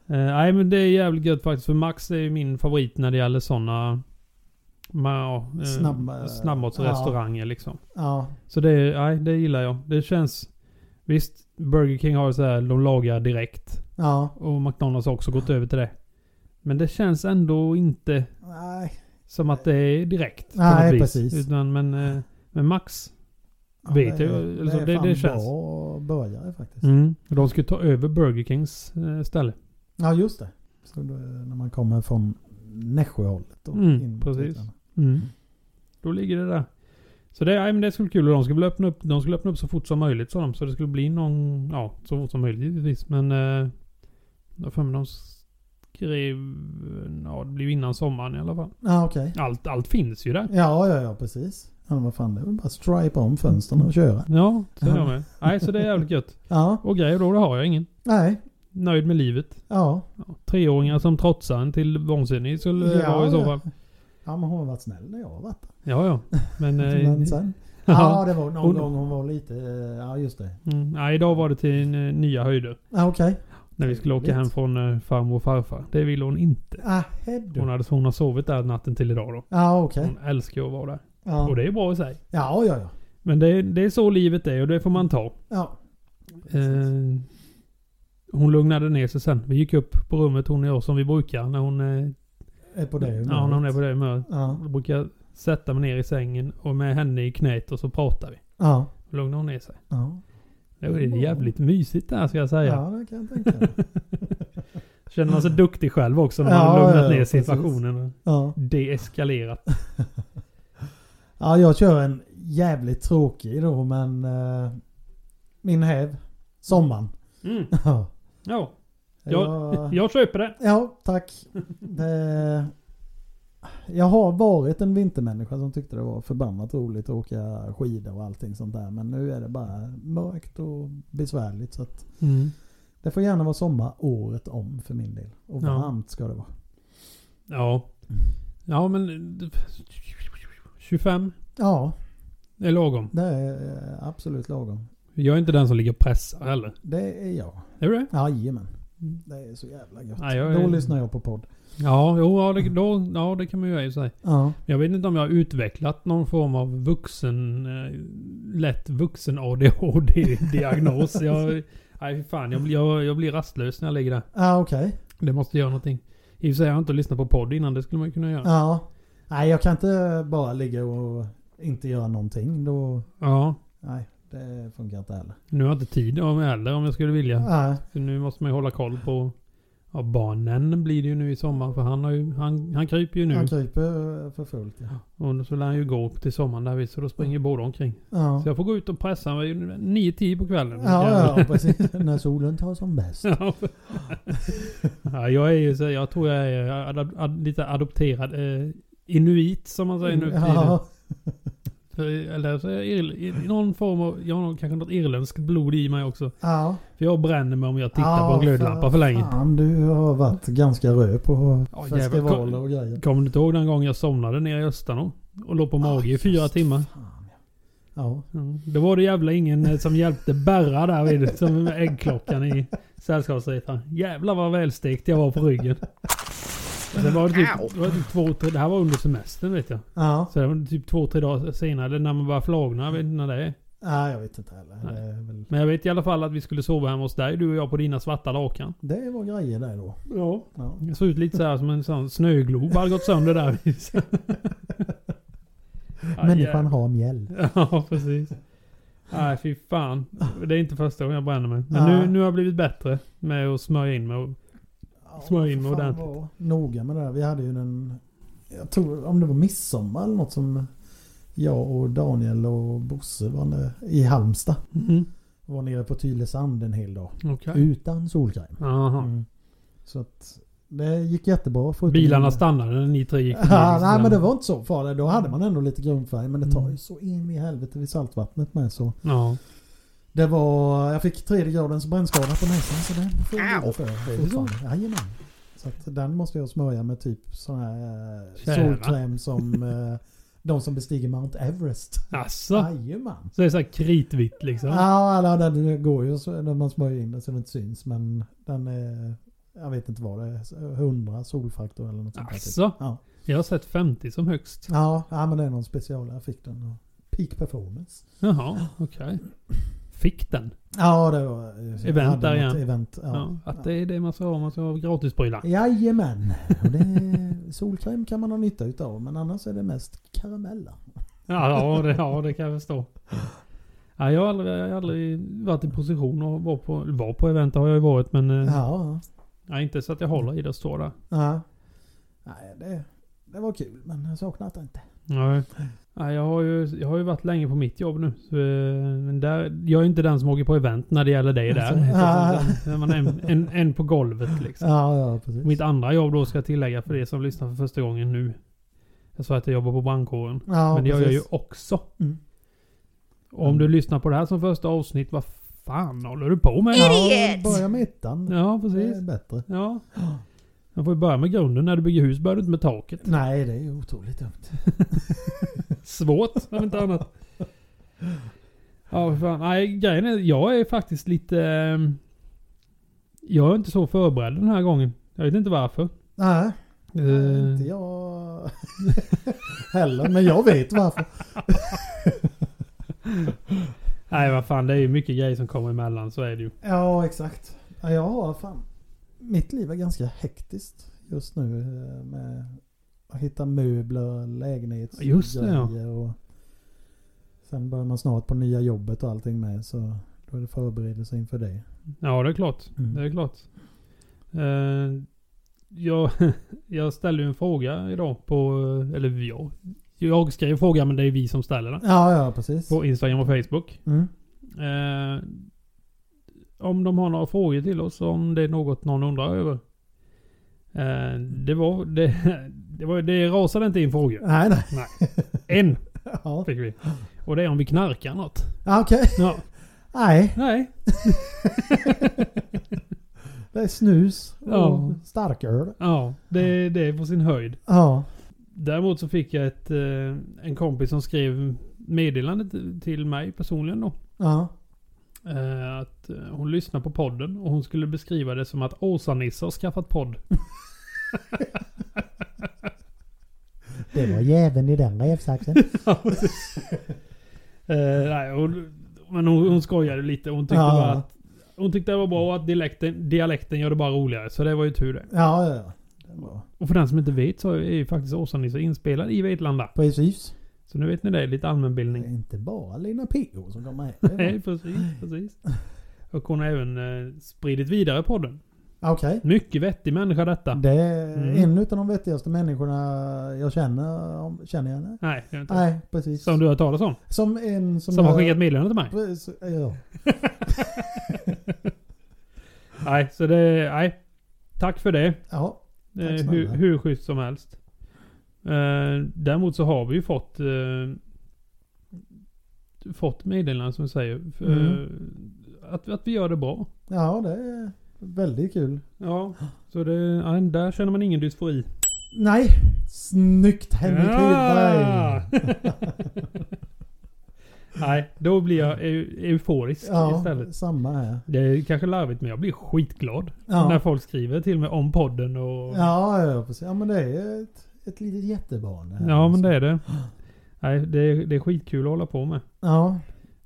B: Eh, nej, men det är jävligt gött faktiskt. För Max är ju min favorit när det gäller sådana Ma, eh,
A: Snabb- eh,
B: snabbmatsrestauranger liksom.
A: Ja,
B: Så det, är- nej, det gillar jag. Det känns... Visst, Burger King har så här, de lagar direkt.
A: ja.
B: Och McDonalds har också gått över till det. Men det känns ändå inte
A: Nej,
B: som att det är direkt. på
A: Nej,
B: något vis.
A: precis.
B: Utan, men, eh, men Max.
A: Ja,
B: Vet
A: det,
B: jag,
A: är-
B: alltså,
A: det
B: det-
A: är fan
B: det känns.
A: bra burgare faktiskt.
B: Mm, de skulle ta över Burger Kings eh, ställe.
A: Ja, just det. Så då, när man kommer från Nässjöhållet. och
B: Mm,
A: in på
B: precis.
A: Tyskland.
B: Mm. Då ligger det där. Så det, nej, men det skulle vara kul. Och de skulle, öppna upp, de skulle öppna upp så fort som möjligt sa de. Så det skulle bli någon... Ja, så fort som möjligt givetvis. Men... Eh, jag har för mig de skrev... Ja, det blev innan sommaren i alla fall.
A: Ja, okej.
B: Allt, allt finns ju där.
A: Ja, ja, ja, precis. Ja, men vad fan, det är väl bara att stripa om fönstren och köra.
B: Ja, så är jag med. Nej, så det är jävligt gött.
A: Ja,
B: Och grejer då, det har jag ingen.
A: nej,
B: Nöjd med livet.
A: ja.
B: Ja, treåringar som trotsar en till vansinnig skulle det
A: Ja,
B: vara i så
A: ja.
B: fall.
A: Ja, men hon har varit snäll när jag har varit
B: Ja, ja. Men...
A: där.
B: Eh,
A: Men sen. Ja,
B: ja.
A: det var någon
B: Hon-
A: gång hon var lite... eh, Ja, just det.
B: Mm, nej, idag var det till eh, nya höjder.
A: Ja, okej.
B: När vi skulle åka
A: Trevligt.
B: hem från eh, farmor och farfar. Det ville hon inte.
A: Ah, head.
B: Hon, hade, hon har sovit där natten till idag då.
A: Ja, okej.
B: Hon älskar ju att vara där. Och
A: Ja.
B: det är bra i sig.
A: ja, ja, ja.
B: Men det, är- det är så livet är och det får man ta.
A: Ja,
B: Eh, hon lugnade ner sig sen. Vi gick upp på rummet hon och jag som vi brukar när hon, eh,
A: är på det
B: ja, när hon är på det humöret.
A: Ja,
B: Då brukar jag sätta mig ner i sängen och med henne i knät och så pratar vi.
A: ja,
B: Då lugnar hon ner sig.
A: ja.
B: Det är jävligt mysigt där ska jag säga.
A: Ja, det kan jag tänka mig.
B: Känner man sig duktig själv också när
A: Ja,
B: man har lugnat
A: ja,
B: ner
A: precis.
B: situationen. och
A: Ja.
B: Deeskalerat.
A: ja, jag kör en jävligt tråkig då, men... eh, min häv. Sommaren.
B: Mm.
A: Ja.
B: Ja,
A: Jag-
B: jag köper det.
A: Ja, tack. Det... Jag har varit en vintermänniska som tyckte det var förbannat roligt att åka skidor och allting sånt där. Men nu är det bara mörkt och besvärligt. Så att
B: Mm.
A: det får gärna vara sommar året om för min del. Och
B: Ja.
A: varmt ska det vara.
B: Ja. Ja, men... 25
A: Ja,
B: är lagom.
A: det är eh, absolut lagom.
B: Jag är inte den som ligger och pressar heller.
A: Det är jag.
B: Är du det?
A: Jajamän. Det är så jävla gött.
B: Ja, jag är-
A: Då lyssnar jag på podd.
B: Ja, jo, ja, det, då, ja, det kan man ju göra i sig.
A: Ja.
B: Jag vet inte om jag har utvecklat någon form av vuxen... Eh, lätt vuxen ADHD-diagnos. jag, nej, fy fan. Jag, blir- jag, jag blir rastlös när jag ligger där.
A: Ja, okej.
B: Det måste göra någonting. I och för sig har jag inte lyssnat på podd innan. Det skulle man ju kunna göra.
A: Ja. Nej, jag kan inte bara ligga och inte göra någonting. Då...
B: Ja.
A: Nej, det funkar inte heller.
B: Nu har jag inte tid om heller om jag skulle vilja.
A: Nej.
B: För nu måste man ju hålla koll på ja, barnen blir det ju nu i sommar. För han, har ju, han, han kryper ju nu.
A: Han kryper för fullt. Ja.
B: Och då så lär han ju gå upp till sommaren där vid. Så då springer ju båda omkring.
A: Ja.
B: Så jag får gå ut och pressa mig 9-10 på kvällen.
A: Ja, ja, precis. När solen tar som bäst.
B: Ja. ja, jag är ju så, jag tror jag är ad, ad, lite adopterad eh, inuit som man säger nu för tiden.
A: Ja,
B: För, eller så är jag irl, i någon form av, jag har nog kanske något irländskt blod i mig också.
A: ja.
B: För jag bränner mig om jag tittar
A: Ja,
B: på en glödlampa för, länge.
A: Fan, du har varit ganska röd på
B: Ja, jävlar.
A: festivaler och grejer.
B: Kommer du inte ihåg den gången jag somnade nere i Östanå? Och låg på mage
A: Ah,
B: i fyra timmar.
A: Fan, ja. Ja.
B: Mm. Då var det jävla ingen eh, som hjälpte Berra där vid, som med äggklockan i sällskapsresan. Jävlar vad välstekt jag var på ryggen. Det var typ, det, var typ två, tre, det här var under semestern vet jag.
A: Ja.
B: Så det var typ två, tre dagar senare eller när man börjar flagna. Jag vet inte när det är.
A: Nej, jag vet inte heller.
B: Nej.
A: Det, är väl...
B: Men jag vet i alla fall att vi skulle sova hemma hos dig, du och jag, på dina svarta lakan.
A: det var grejer där då.
B: Ja.
A: Ja.
B: Jag såg ut lite så här som en sån snöglob hade gått sönder där. Ja,
A: Människan har mjäll.
B: Ja, precis. Nej, fy fan. Det är inte första gången jag bränner mig. Men
A: Nej.
B: nu, nu har jag blivit bättre med att smörja in mig. och-
A: Ja,
B: Smörj in
A: för
B: med
A: fan
B: ordentligt.
A: var Noga med det där. Vi hade ju den... Jag tror om det var midsommar eller något som jag och Daniel och Bosse var nere i Halmstad.
B: Mhm.
A: Var nere på Tylösand en hel dag.
B: Okej.
A: Utan solkräm.
B: Jaha.
A: Mm. Så att det gick jättebra. förutom-
B: Bilarna stannade när ni tre gick förbi,
A: Ja,
B: liksom.
A: nej men det var inte så farligt. Då hade man ändå lite grundfärg. Men det tar ju
B: Mm.
A: så in i helvete vid saltvattnet med så.
B: Ja.
A: Det var... Jag fick tredje gradens brännskada på näsan så den får jag lida för.
B: det så?
A: fortfarande. Jajamän. Så att den måste jag smörja med typ sån här eh,
B: Tjära.
A: solkräm som eh, de som bestiger Mount Everest.
B: Asså.
A: Jajamän.
B: Så det är så här kritvitt liksom.
A: Ja, eller den går ju så när man smörjer in den så den inte syns. Men den är jag vet inte vad det är, 100 solfaktor eller något sånt. där typ.
B: Alltså,
A: Ja.
B: jag har sett 50 som högst.
A: Ja, ja, men det är någon special. Jag fick den. Peak performance.
B: Jaha, okej. Fick den.
A: Ja, det var... jag
B: Event
A: hade
B: där
A: något
B: igen.
A: Event, ja.
B: Ja, att det är det man ska ha, man ska ha gratisprylar.
A: Jajamän. Och det, solkräm kan man ha nytta utav, men annars är det mest karameller.
B: Ja, ja, det, ja, det kan jag förstå. Ja, jag, har aldrig, jag har aldrig varit i position och var på, var på event, har jag ju varit. Men eh,
A: Ja.
B: nej, inte så att jag håller i det och står där.
A: Mm. ja. Nej, det, det var kul, men jag saknar det inte.
B: Nej. Nej, jag, har ju, jag har ju varit länge på mitt jobb nu. Så, eh, men där, jag är inte den som åker på event när det gäller dig där.
A: Alltså, ah.
B: Så Man är en, en, en på golvet liksom.
A: Ja, ja precis.
B: Mitt andra jobb då ska jag tillägga för er som lyssnar för första gången nu. Jag sa att jag jobbar på brandkåren.
A: ja,
B: men det gör jag ju
A: precis.
B: också.
A: Mm.
B: Och om du lyssnar på det här som första avsnitt, vad fan håller du på med?
A: Ja, börja med ettan.
B: Ja,
A: det är
B: precis.
A: bättre.
B: Ja. Man får ju börja med grunden. När du bygger hus börjar du inte med taket.
A: Nej, det är ju otroligt dumt.
B: Svårt, om inte annat. Ja, för fan. Nej, grejen är, jag är faktiskt lite... ehm, Jag är inte så förberedd den här gången. Jag vet inte varför.
A: Nej,
B: Eh,
A: inte jag heller. Men jag vet varför.
B: Nej, vad fan. Det är ju mycket grejer som kommer emellan. Så är det ju.
A: Ja, exakt. Ja, jag har fan. Mitt liv är ganska hektiskt just nu. eh, Med att hitta möbler, lägenhets-
B: Just det, ja.
A: grejer och Sen börjar man snart på nya jobbet och allting med. Så då är det förberedelse inför det.
B: Ja, det är klart.
A: Mm.
B: Det är klart. Eh, jag, jag ställde ju en fråga idag på... Eller jag. Jag skrev frågan men det är vi som ställer den.
A: Ja, ja, precis.
B: På Instagram och Facebook.
A: Mm.
B: Eh, om de har några frågor till oss, om det är något någon undrar över. Eh, det var... Det, det, var, det rasade inte in frågor.
A: Nej, nej.
B: En
A: Ja.
B: fick vi. Och det är om vi knarkar något.
A: Ja, Okej.
B: Ja,
A: Nej,
B: nej.
A: det är snus och
B: Ja.
A: starköl.
B: Ja, det, det är på sin höjd.
A: Ja.
B: Däremot så fick jag ett, eh, en kompis som skrev meddelandet till mig personligen då.
A: Ja.
B: Eh, Att eh, hon lyssnar på podden och hon skulle beskriva det som att Åsa-Nisse har skaffat podd.
A: Det var jäveln i den rävsaxen.
B: Eh, nej, hon, men hon, hon skojade lite. Hon tyckte,
A: Ja.
B: bara att, hon tyckte det var bra och att dialekten, dialekten gör det bara roligare. Så det var ju tur det.
A: Ja, ja, ja. Det var
B: Och för den som inte vet så är ju faktiskt Åsa-Nisse inspelad i Vetlanda.
A: precis.
B: Så nu vet ni det. Lite
A: Det
B: allmänbildning.
A: är inte bara Lina P.O. som kommer hem.
B: Nej, precis. precis. Och hon har även eh, spridit vidare podden.
A: Okej.
B: Mycket vettig människa detta.
A: Det är
B: Mm.
A: en av de vettigaste människorna jag känner. om- Känner jag henne?
B: Nej, jag vet inte.
A: Nej, precis.
B: Som du har hört talas om.
A: Som en som...
B: Som har
A: jag-
B: skickat meddelanden till mig.
A: Precis, Ja.
B: Nej, så det... Nej. Tack för det.
A: ja. Tack
B: Eh,
A: snälla.
B: hur, hur schysst som helst. Eh, däremot så har vi ju fått... Eh, fått meddelanden som säger. f-
A: Mm.
B: Eh, att, att vi gör det bra.
A: Ja, det är väldigt kul.
B: Ja. Så det... Ja, där känner man ingen dysfori.
A: Nej! Snyggt Henrik
B: Ja!
A: Hedberg!
B: Nej, då blir jag eu- euforisk
A: Ja,
B: istället.
A: samma här.
B: Det är kanske larvigt men jag blir skitglad. När
A: Ja,
B: folk skriver till mig om podden och... Ja,
A: ja, ja precis. Ja, men det är ett, ett litet jättebarn. det här. alltså.
B: men det är det. Nej, det är, det är skitkul att hålla på med.
A: Ja,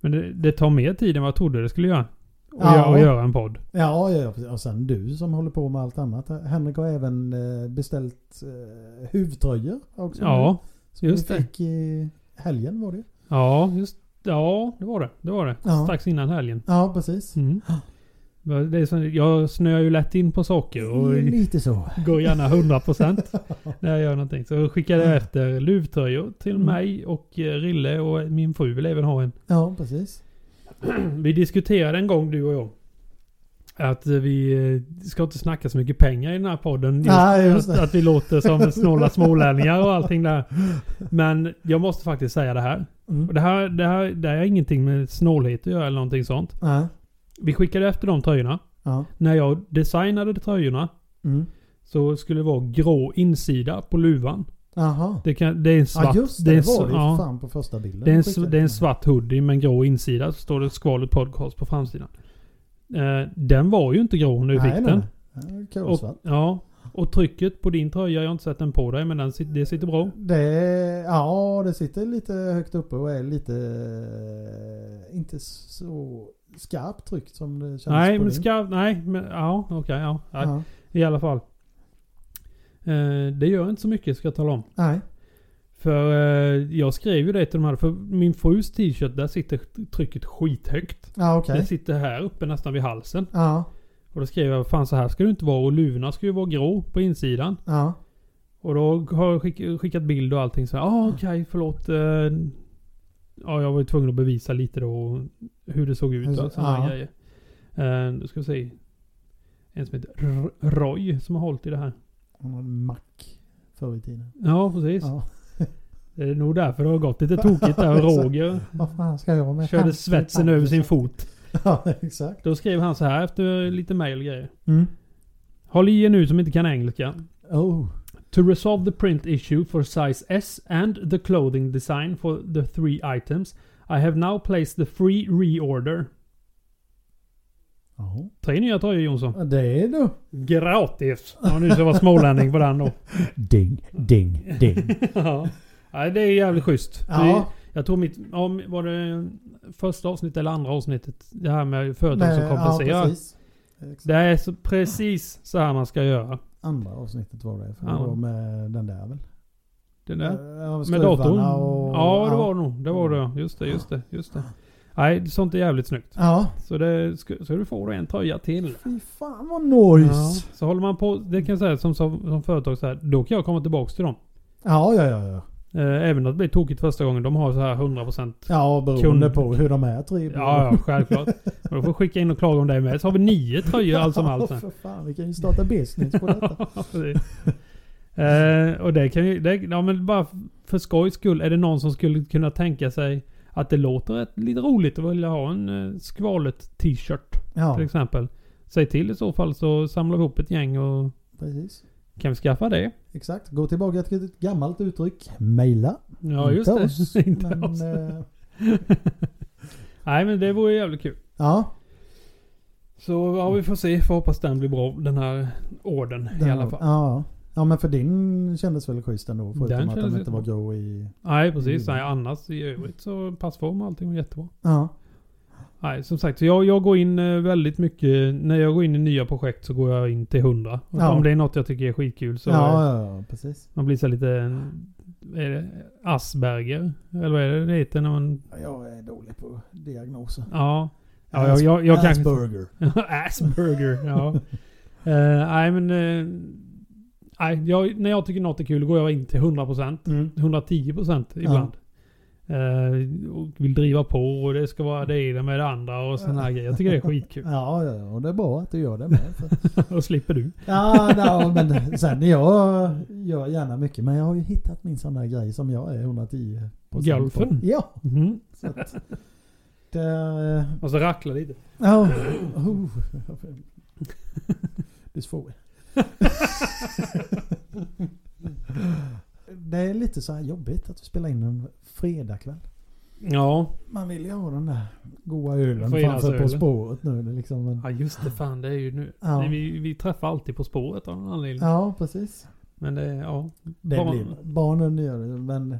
B: Men det, det tar mer tid än vad jag trodde det skulle göra. Och,
A: Ja.
B: göra, och göra en podd.
A: Ja, ja, ja, precis. och sen du som håller på med allt annat. Henrik har även eh, beställt eh, huvtröjor också.
B: Ja,
A: som
B: just
A: vi
B: det.
A: fick i helgen var det ju.
B: ja, just Ja, det var det. Det var det.
A: Ja.
B: Strax innan helgen.
A: Ja, precis.
B: Mm. Det är så, jag snöar ju lätt in på saker och
A: Lite så.
B: går gärna 100% när jag gör någonting. Så skickade jag efter luvtröjor till
A: Mm.
B: mig och eh, Rille och min fru vill även ha en.
A: Ja, precis.
B: Vi diskuterade en gång du och jag. Att vi eh, ska inte snacka så mycket pengar i den här podden. Just,
A: Nej, just
B: att,
A: det.
B: att vi låter som snåla smålänningar och allting där. Men jag måste faktiskt säga det här.
A: Mm.
B: Och Det här, det här, det här är ingenting med snålhet att göra eller någonting sånt.
A: Ja.
B: Vi skickade efter de tröjorna.
A: Ja.
B: När jag designade tröjorna
A: Mm.
B: så skulle det vara grå insida på luvan.
A: Jaha.
B: Det, kan, det är en svart...
A: Ja, just det. Det
B: en,
A: var det ju
B: sv- ja,
A: för fan på första bilden.
B: det, är en,
A: du
B: sv-
A: skickade.
B: det är en svart hoodie med en grå insida. Så står det Skvalet Podcast på framsidan. Eh, den var ju inte grå när vi
A: Nej,
B: fick
A: nej,
B: den.
A: nej. Kolsvart.
B: Och, ja. Och trycket på din tröja, jag har inte sett den på dig, men den, sit- det sitter bra.
A: Det, ja, det sitter lite högt uppe och är lite... eh, Inte så skarpt tryckt som det känns
B: Nej,
A: på
B: men
A: din.
B: ska... Nej, men ja, okej, ja. Nej,
A: Ja.
B: I alla fall. Eh, det gör inte så mycket, ska jag tala om.
A: Nej.
B: För eh, jag skrev ju det till de här, för min frus t-shirt, där sitter trycket skithögt.
A: Ja, okej.
B: Det sitter här uppe nästan vid halsen.
A: Ja,
B: Och då skrev jag, fan så här ska det inte vara och luvorna ska ju vara grå på insidan.
A: ja.
B: Och då har jag skick, skickat bild och allting så här, ah, okej förlåt. eh, Ja, jag var ju tvungen att bevisa lite då hur det såg ut och sådana
A: Ja.
B: här grejer. Eh, Då ska vi se. En som heter R- Roy som har hållit i det här.
A: Han var en mack förr i tiden.
B: Ja, precis.
A: Ja.
B: Det är nog därför det har gått lite tokigt där. Roger
A: Vad fan ska jag med
B: körde
A: hand-
B: svetsen över sin fot.
A: Ja, exakt.
B: Då skrev han så här efter lite mail och grejer.
A: Mm.
B: Håll i er nu som inte kan engelska.
A: Oh.
B: To resolve the print issue for size S and the clothing design for the three items, I have now placed the free reorder.
A: Ja.
B: Tre nya tröjor Jonsson.
A: Det är du.
B: Gratis! Om nu ska vara smålänning på den då.
D: Ding, ding, ding.
B: ja. Nej, det är jävligt schysst.
A: Ja.
B: Det- Jag tror mitt... Om, var det första avsnittet eller andra avsnittet? Det här med företag som
A: Nej, Ja,
B: kompenserar.
A: precis. Exakt.
B: det är så, precis så här man ska göra.
A: Andra avsnittet var det. För det
B: Ja.
A: var med den där väl?
B: Den där.
A: Ja,
B: Med datorn?
A: Eh, skruvarna Och, Mm.
B: ja, det var det nog. Det var det. Just det, just det, just det. Nej, sånt är jävligt snyggt.
A: Ja.
B: Så, det, ska, så du får en tröja till.
A: Fy fan vad noise.
B: Ja, så håller man på, det kan jag säga som, som, som företag så här, då kan jag komma tillbaks till dem.
A: Ja, ja, ja. Ja,
B: Eh, även att det blir tokigt första gången, de har så här 100%.
A: ja beroende
B: Kund-
A: på hur de är tre
B: Ja, ja, självklart. Men då får jag skicka in och klaga om det med. Så har vi nio tröjor allt som allt. sen.
A: för fan, vi kan ju starta business på detta.
B: Eh, och det kan ju, det, ja men bara för skojs skull. Är det någon som skulle kunna tänka sig att det låter ett, lite roligt att vilja ha en eh, skvalet t-shirt
A: Ja,
B: till exempel. Säg till i så fall så samlar vi ihop ett gäng och
A: precis.
B: kan vi skaffa det?
A: Exakt. Gå tillbaka till ett gammalt uttryck. Maila.
B: Ja just
A: Inte
B: det.
A: oss,
B: Inte
A: men,
B: oss.
A: eh,
B: Nej men det vore jävligt kul.
A: ja,
B: Så ja, vi får se. Får hoppas den blir bra den här orden i
A: den-
B: alla fall.
A: Ja. ja, men för din kändes väl schysst ändå? Förutom
B: Den
A: att
B: kändes
A: den inte var
B: jättebra.
A: grå i...
B: Nej precis.
A: Mm.
B: Nej, annars i övrigt så passform och allting var jättebra.
A: Ja,
B: Nej, som sagt. Så jag, jag går in eh, väldigt mycket. När jag går in i nya projekt så går jag in till 100. Och
A: Ja.
B: Om det är något jag tycker är skitkul så... eh,
A: ja, ja, ja, precis.
B: Man blir så lite... eh, Är det Asperger? Eller vad är det det heter när man...
A: Jag är dålig på diagnoser.
B: Ja. ja jag, jag, jag kanske-
A: Asperger.
B: Asperger, ja. Eh, Nej, men... eh, nej, jag, när jag tycker något är kul går jag in till 100%. 110% ibland. Eh, och vill driva på och det ska vara det ena med det andra och sådana här grejer. Jag tycker det är skitkul.
A: Ja, ja, ja, och det är bra att du gör det med. För
B: och slipper du.
A: Ja, no, men sen jag gör gärna mycket. Men jag har ju hittat min sån där grej som jag är 110 på.
B: Golfen?
A: Ja.
B: Mhm.
A: Så att, där, eh,
B: Och så rackla lite.
A: ja, oh, det är svårt. Det är lite så här jobbigt att vi spelar in en fredagkväll.
B: Ja.
A: Man vill ju ha den där goa ölen framför
B: Fredagsölen.
A: På spåret nu. Det är liksom en,
B: ja, just det. Fan, det är ju nu.
A: Ja.
B: Nej, vi, vi träffar alltid På spåret av någon anledning.
A: ja, precis.
B: Men det, ja.
A: Det
B: Barn-
A: blir, barnen gör det, men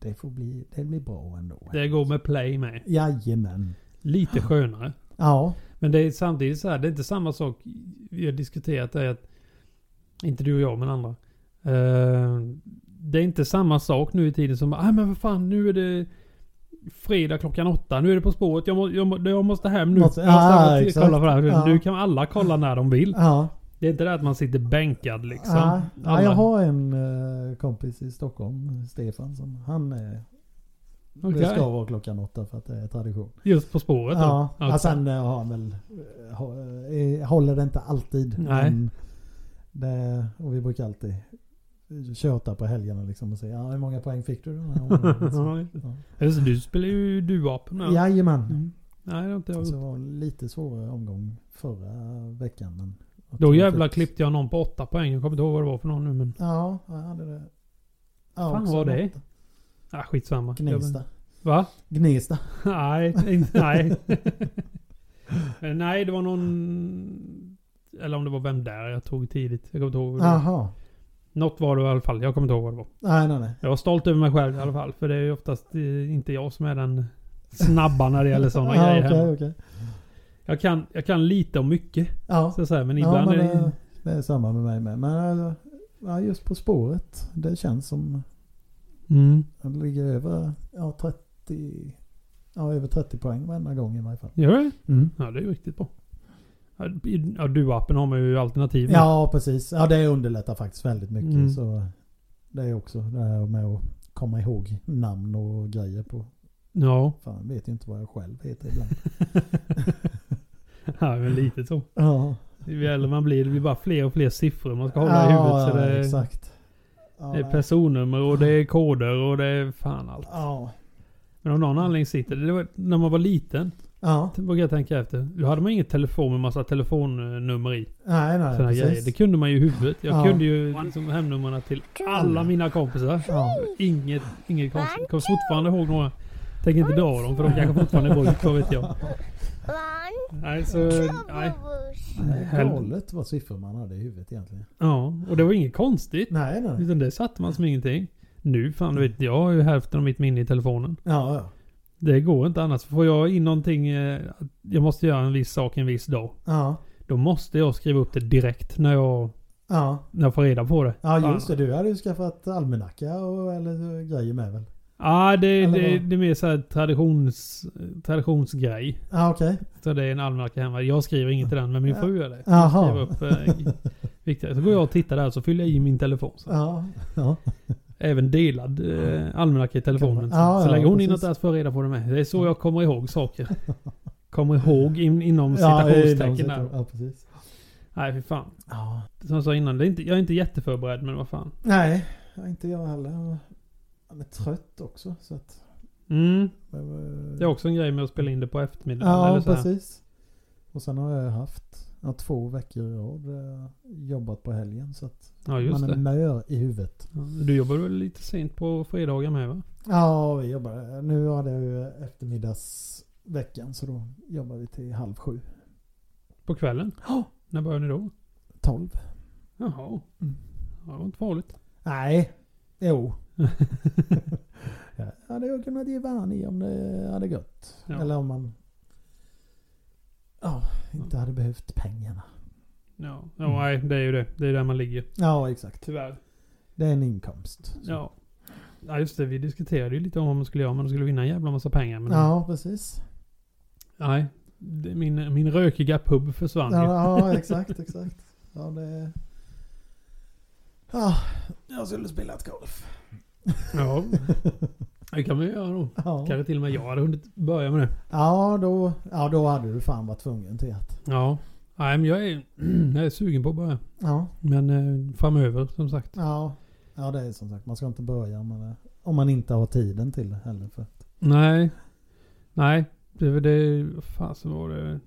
A: det, får bli, det blir bra ändå.
B: Det går med play med.
A: Jajamän.
B: Lite skönare.
A: Ja.
B: Men det är samtidigt så här. Det är inte samma sak. Vi har diskuterat det att. Inte du och jag men andra. Eh, det är inte samma sak nu i tiden som. Nej men vad fan nu är det. Fredag klockan åtta. Nu är det På spåret. Jag, må, jag, må, jag måste hem nu.
A: Måste-
B: jag måste
A: Ah,
B: hem och
A: exakt.
B: kolla på det här.
A: Ja.
B: Nu kan alla kolla när de vill.
A: Ja.
B: Det är inte det att man sitter bänkad liksom.
A: ja. ja
B: Alla-
A: jag har en eh, kompis i Stockholm, Stefan, som han är...
B: Okej.
A: Det ska vara klockan åtta för att det är tradition.
B: Just På spåret då?
A: Ja.
B: Okej.
A: ja. Sen eh, har han väl... eh, ha- eh, Håller det inte alltid.
B: Nej.
A: men Det, och vi brukar alltid köta på helgerna liksom och säga ja, hur många poäng fick du den här omgången?"
B: Ja,
A: Ja.
B: Just det, du spelar ju duapen. Ja.
A: Jajamän.
B: Mm. Nej, det har inte jag
A: Så
B: gjort.
A: det var lite svårare omgång förra veckan. Men jag tror
B: Då
A: jag
B: jävlar
A: fick-
B: klippte jag någon på åtta poäng. Jag kommer inte ihåg vad det var för någon nu men...
A: Ja, jag hade det. Ja,
B: Fan
A: också
B: var det?
A: något.
B: Ah, skitsamma.
A: Gnesta.
B: Va?
A: Gnesta.
B: Eh, Nej, inte- nej. Men nej, det var någon... Eller om det var Vem där jag tog tidigt. Jag kommer inte ihåg.
A: Jaha.
B: Något var det i alla fall. Jag kommer inte ihåg vad det var.
A: Nej, nej, nej.
B: Jag var stolt över mig själv i alla fall. För det är ju oftast eh, inte jag som är den snabba när det gäller sådana
A: Ja,
B: grejer.
A: okej,
B: hemma.
A: okej.
B: Jag, kan, jag kan lite om mycket.
A: Ja.
B: Så att säga, men
A: Ja,
B: ibland
A: men
B: är det...
A: det, det är samma med mig med. Men alltså, ja, just På spåret, det känns som
B: Mm.
A: att ligga över ja, 30, ja, över 30 poäng varenda gång i varje fall.
B: Gör det?
A: Mm.
B: Ja, det är ju riktigt bra. Ja, i- Ja, du-appen har man ju alternativ. med.
A: Ja, precis. Ja, det underlättar faktiskt väldigt mycket.
B: Mm.
A: Så det är också det här med att komma ihåg namn och grejer på.
B: Ja.
A: Fan, jag vet ju inte vad jag själv heter ibland.
B: ja, men lite så.
A: ja,
B: Ju äldre man blir, det blir bara fler och fler siffror man ska hålla i
A: ja,
B: huvudet. Så det, är,
A: exakt. Ja,
B: det är
A: nej.
B: personnummer och det är koder och det är fan allt.
A: ja.
B: Men av någon anledning sitter det. det var, när man var liten,
A: ja,
B: vågar jag tänka efter. Då hade man inget telefon med massa telefonnummer i.
A: nej, nej,
B: Såna grejer.
A: precis.
B: Det kunde man ju i huvudet. Jag
A: Ja.
B: kunde ju liksom hemnumren till alla mina kompisar.
A: Ja.
B: Inget, inget konstigt. Jag kommer fortfarande ihåg några. Tänker inte dra dem för de kanske fortfarande är i bruk, vad vet jag.
E: One,
B: Nej, så... Nej.
A: Det är
B: Helv-
A: galet vad siffror man hade i huvudet egentligen.
B: Ja, och det var inget konstigt.
A: Nej, nej.
B: Utan det satte man som ingenting. Nu fan, du vet, jag har ju hälften av mitt minne i telefonen.
A: Ja, ja.
B: Det går inte annars. Får jag in någonting, eh, att jag måste göra en viss sak en viss dag.
A: Ja,
B: Då måste jag skriva upp det direkt när jag,
A: ja.
B: när jag får reda på det.
A: ja just det. Du hade ju skaffat almanacka och eller grejer med väl?
B: Ja, det,
A: Eller
B: det,
A: vad?
B: det är mer så här traditions, traditionsgrej.
A: Ja, okej.
B: Så det är en almanacka hemma. Jag skriver inget i den, men min fru gör det. Skriver
A: Jaha.
B: upp eh, viktiga. Så går jag och tittar där så fyller jag i min telefon. Så.
A: Ja, ja.
B: Även delad eh, almanacka i telefonen.
A: Kan man- ja,
B: så
A: ja,
B: lägger hon in något
A: precis.
B: där så får jag reda på det med. Det är så jag kommer ihåg saker. Kommer ihåg in, inom
A: Ja,
B: citationstecken
A: ja,
B: där.
A: Ja, precis.
B: Nej, för fan.
A: Ja.
B: Som jag sa innan, det är inte, jag är inte jätteförberedd men vad fan.
A: Nej, inte jag heller. Han är trött också. Så att,
B: Mm,
A: men, eh,
B: det är också en grej med att spela in det på eftermiddagen.
A: ja
B: eller så här.
A: precis. Och sen har jag haft ja, två veckor i rad eh, jobbat på helgen. Så att
B: Ja, just
A: man är
B: det.
A: mör i huvudet.
B: Ja, Du jobbar väl lite sent på fredagar med va?
A: Ja, vi jobbar. Nu hade jag ju eftermiddagsveckan så då jobbar vi till halv sju.
B: På kvällen? När börjar ni då?
A: Tolv.
B: Jaha.
A: Mm.
B: Ja, det var inte farligt.
A: Nej. Jo. ja, det hade jag kunnat ge fan i om det hade gått.
B: Ja.
A: Eller om man ja, inte hade behövt pengarna.
B: Ja,
A: Mm.
B: ja nej, det är ju det. Det är där man ligger.
A: Ja, exakt.
B: Tyvärr.
A: Det är en inkomst. Så-
B: Ja. ja, just det. Vi diskuterade ju lite om vad man skulle göra. Men de skulle vinna en jävla massa pengar. Men
A: ja precis.
B: Nej. Det, min, min rökiga pub försvann
A: Ja,
B: ju.
A: ja, exakt, exakt. Ja, det... Ja, jag skulle spela ett golf.
B: Ja. Det kan vi ju göra då.
A: Ja,
B: Kanske till och med jag hade hunnit börja med det.
A: ja, då, ja då hade du fan varit tvungen till att...
B: Ja. Nej, men jag är, jag är sugen på att börja.
A: Ja,
B: Men eh, framöver som sagt.
A: ja. ja, det är som sagt. Man ska inte börja om man, är, om man inte har tiden till det heller. För att,
B: Nej. Nej. Det var det... vad Fan så var det...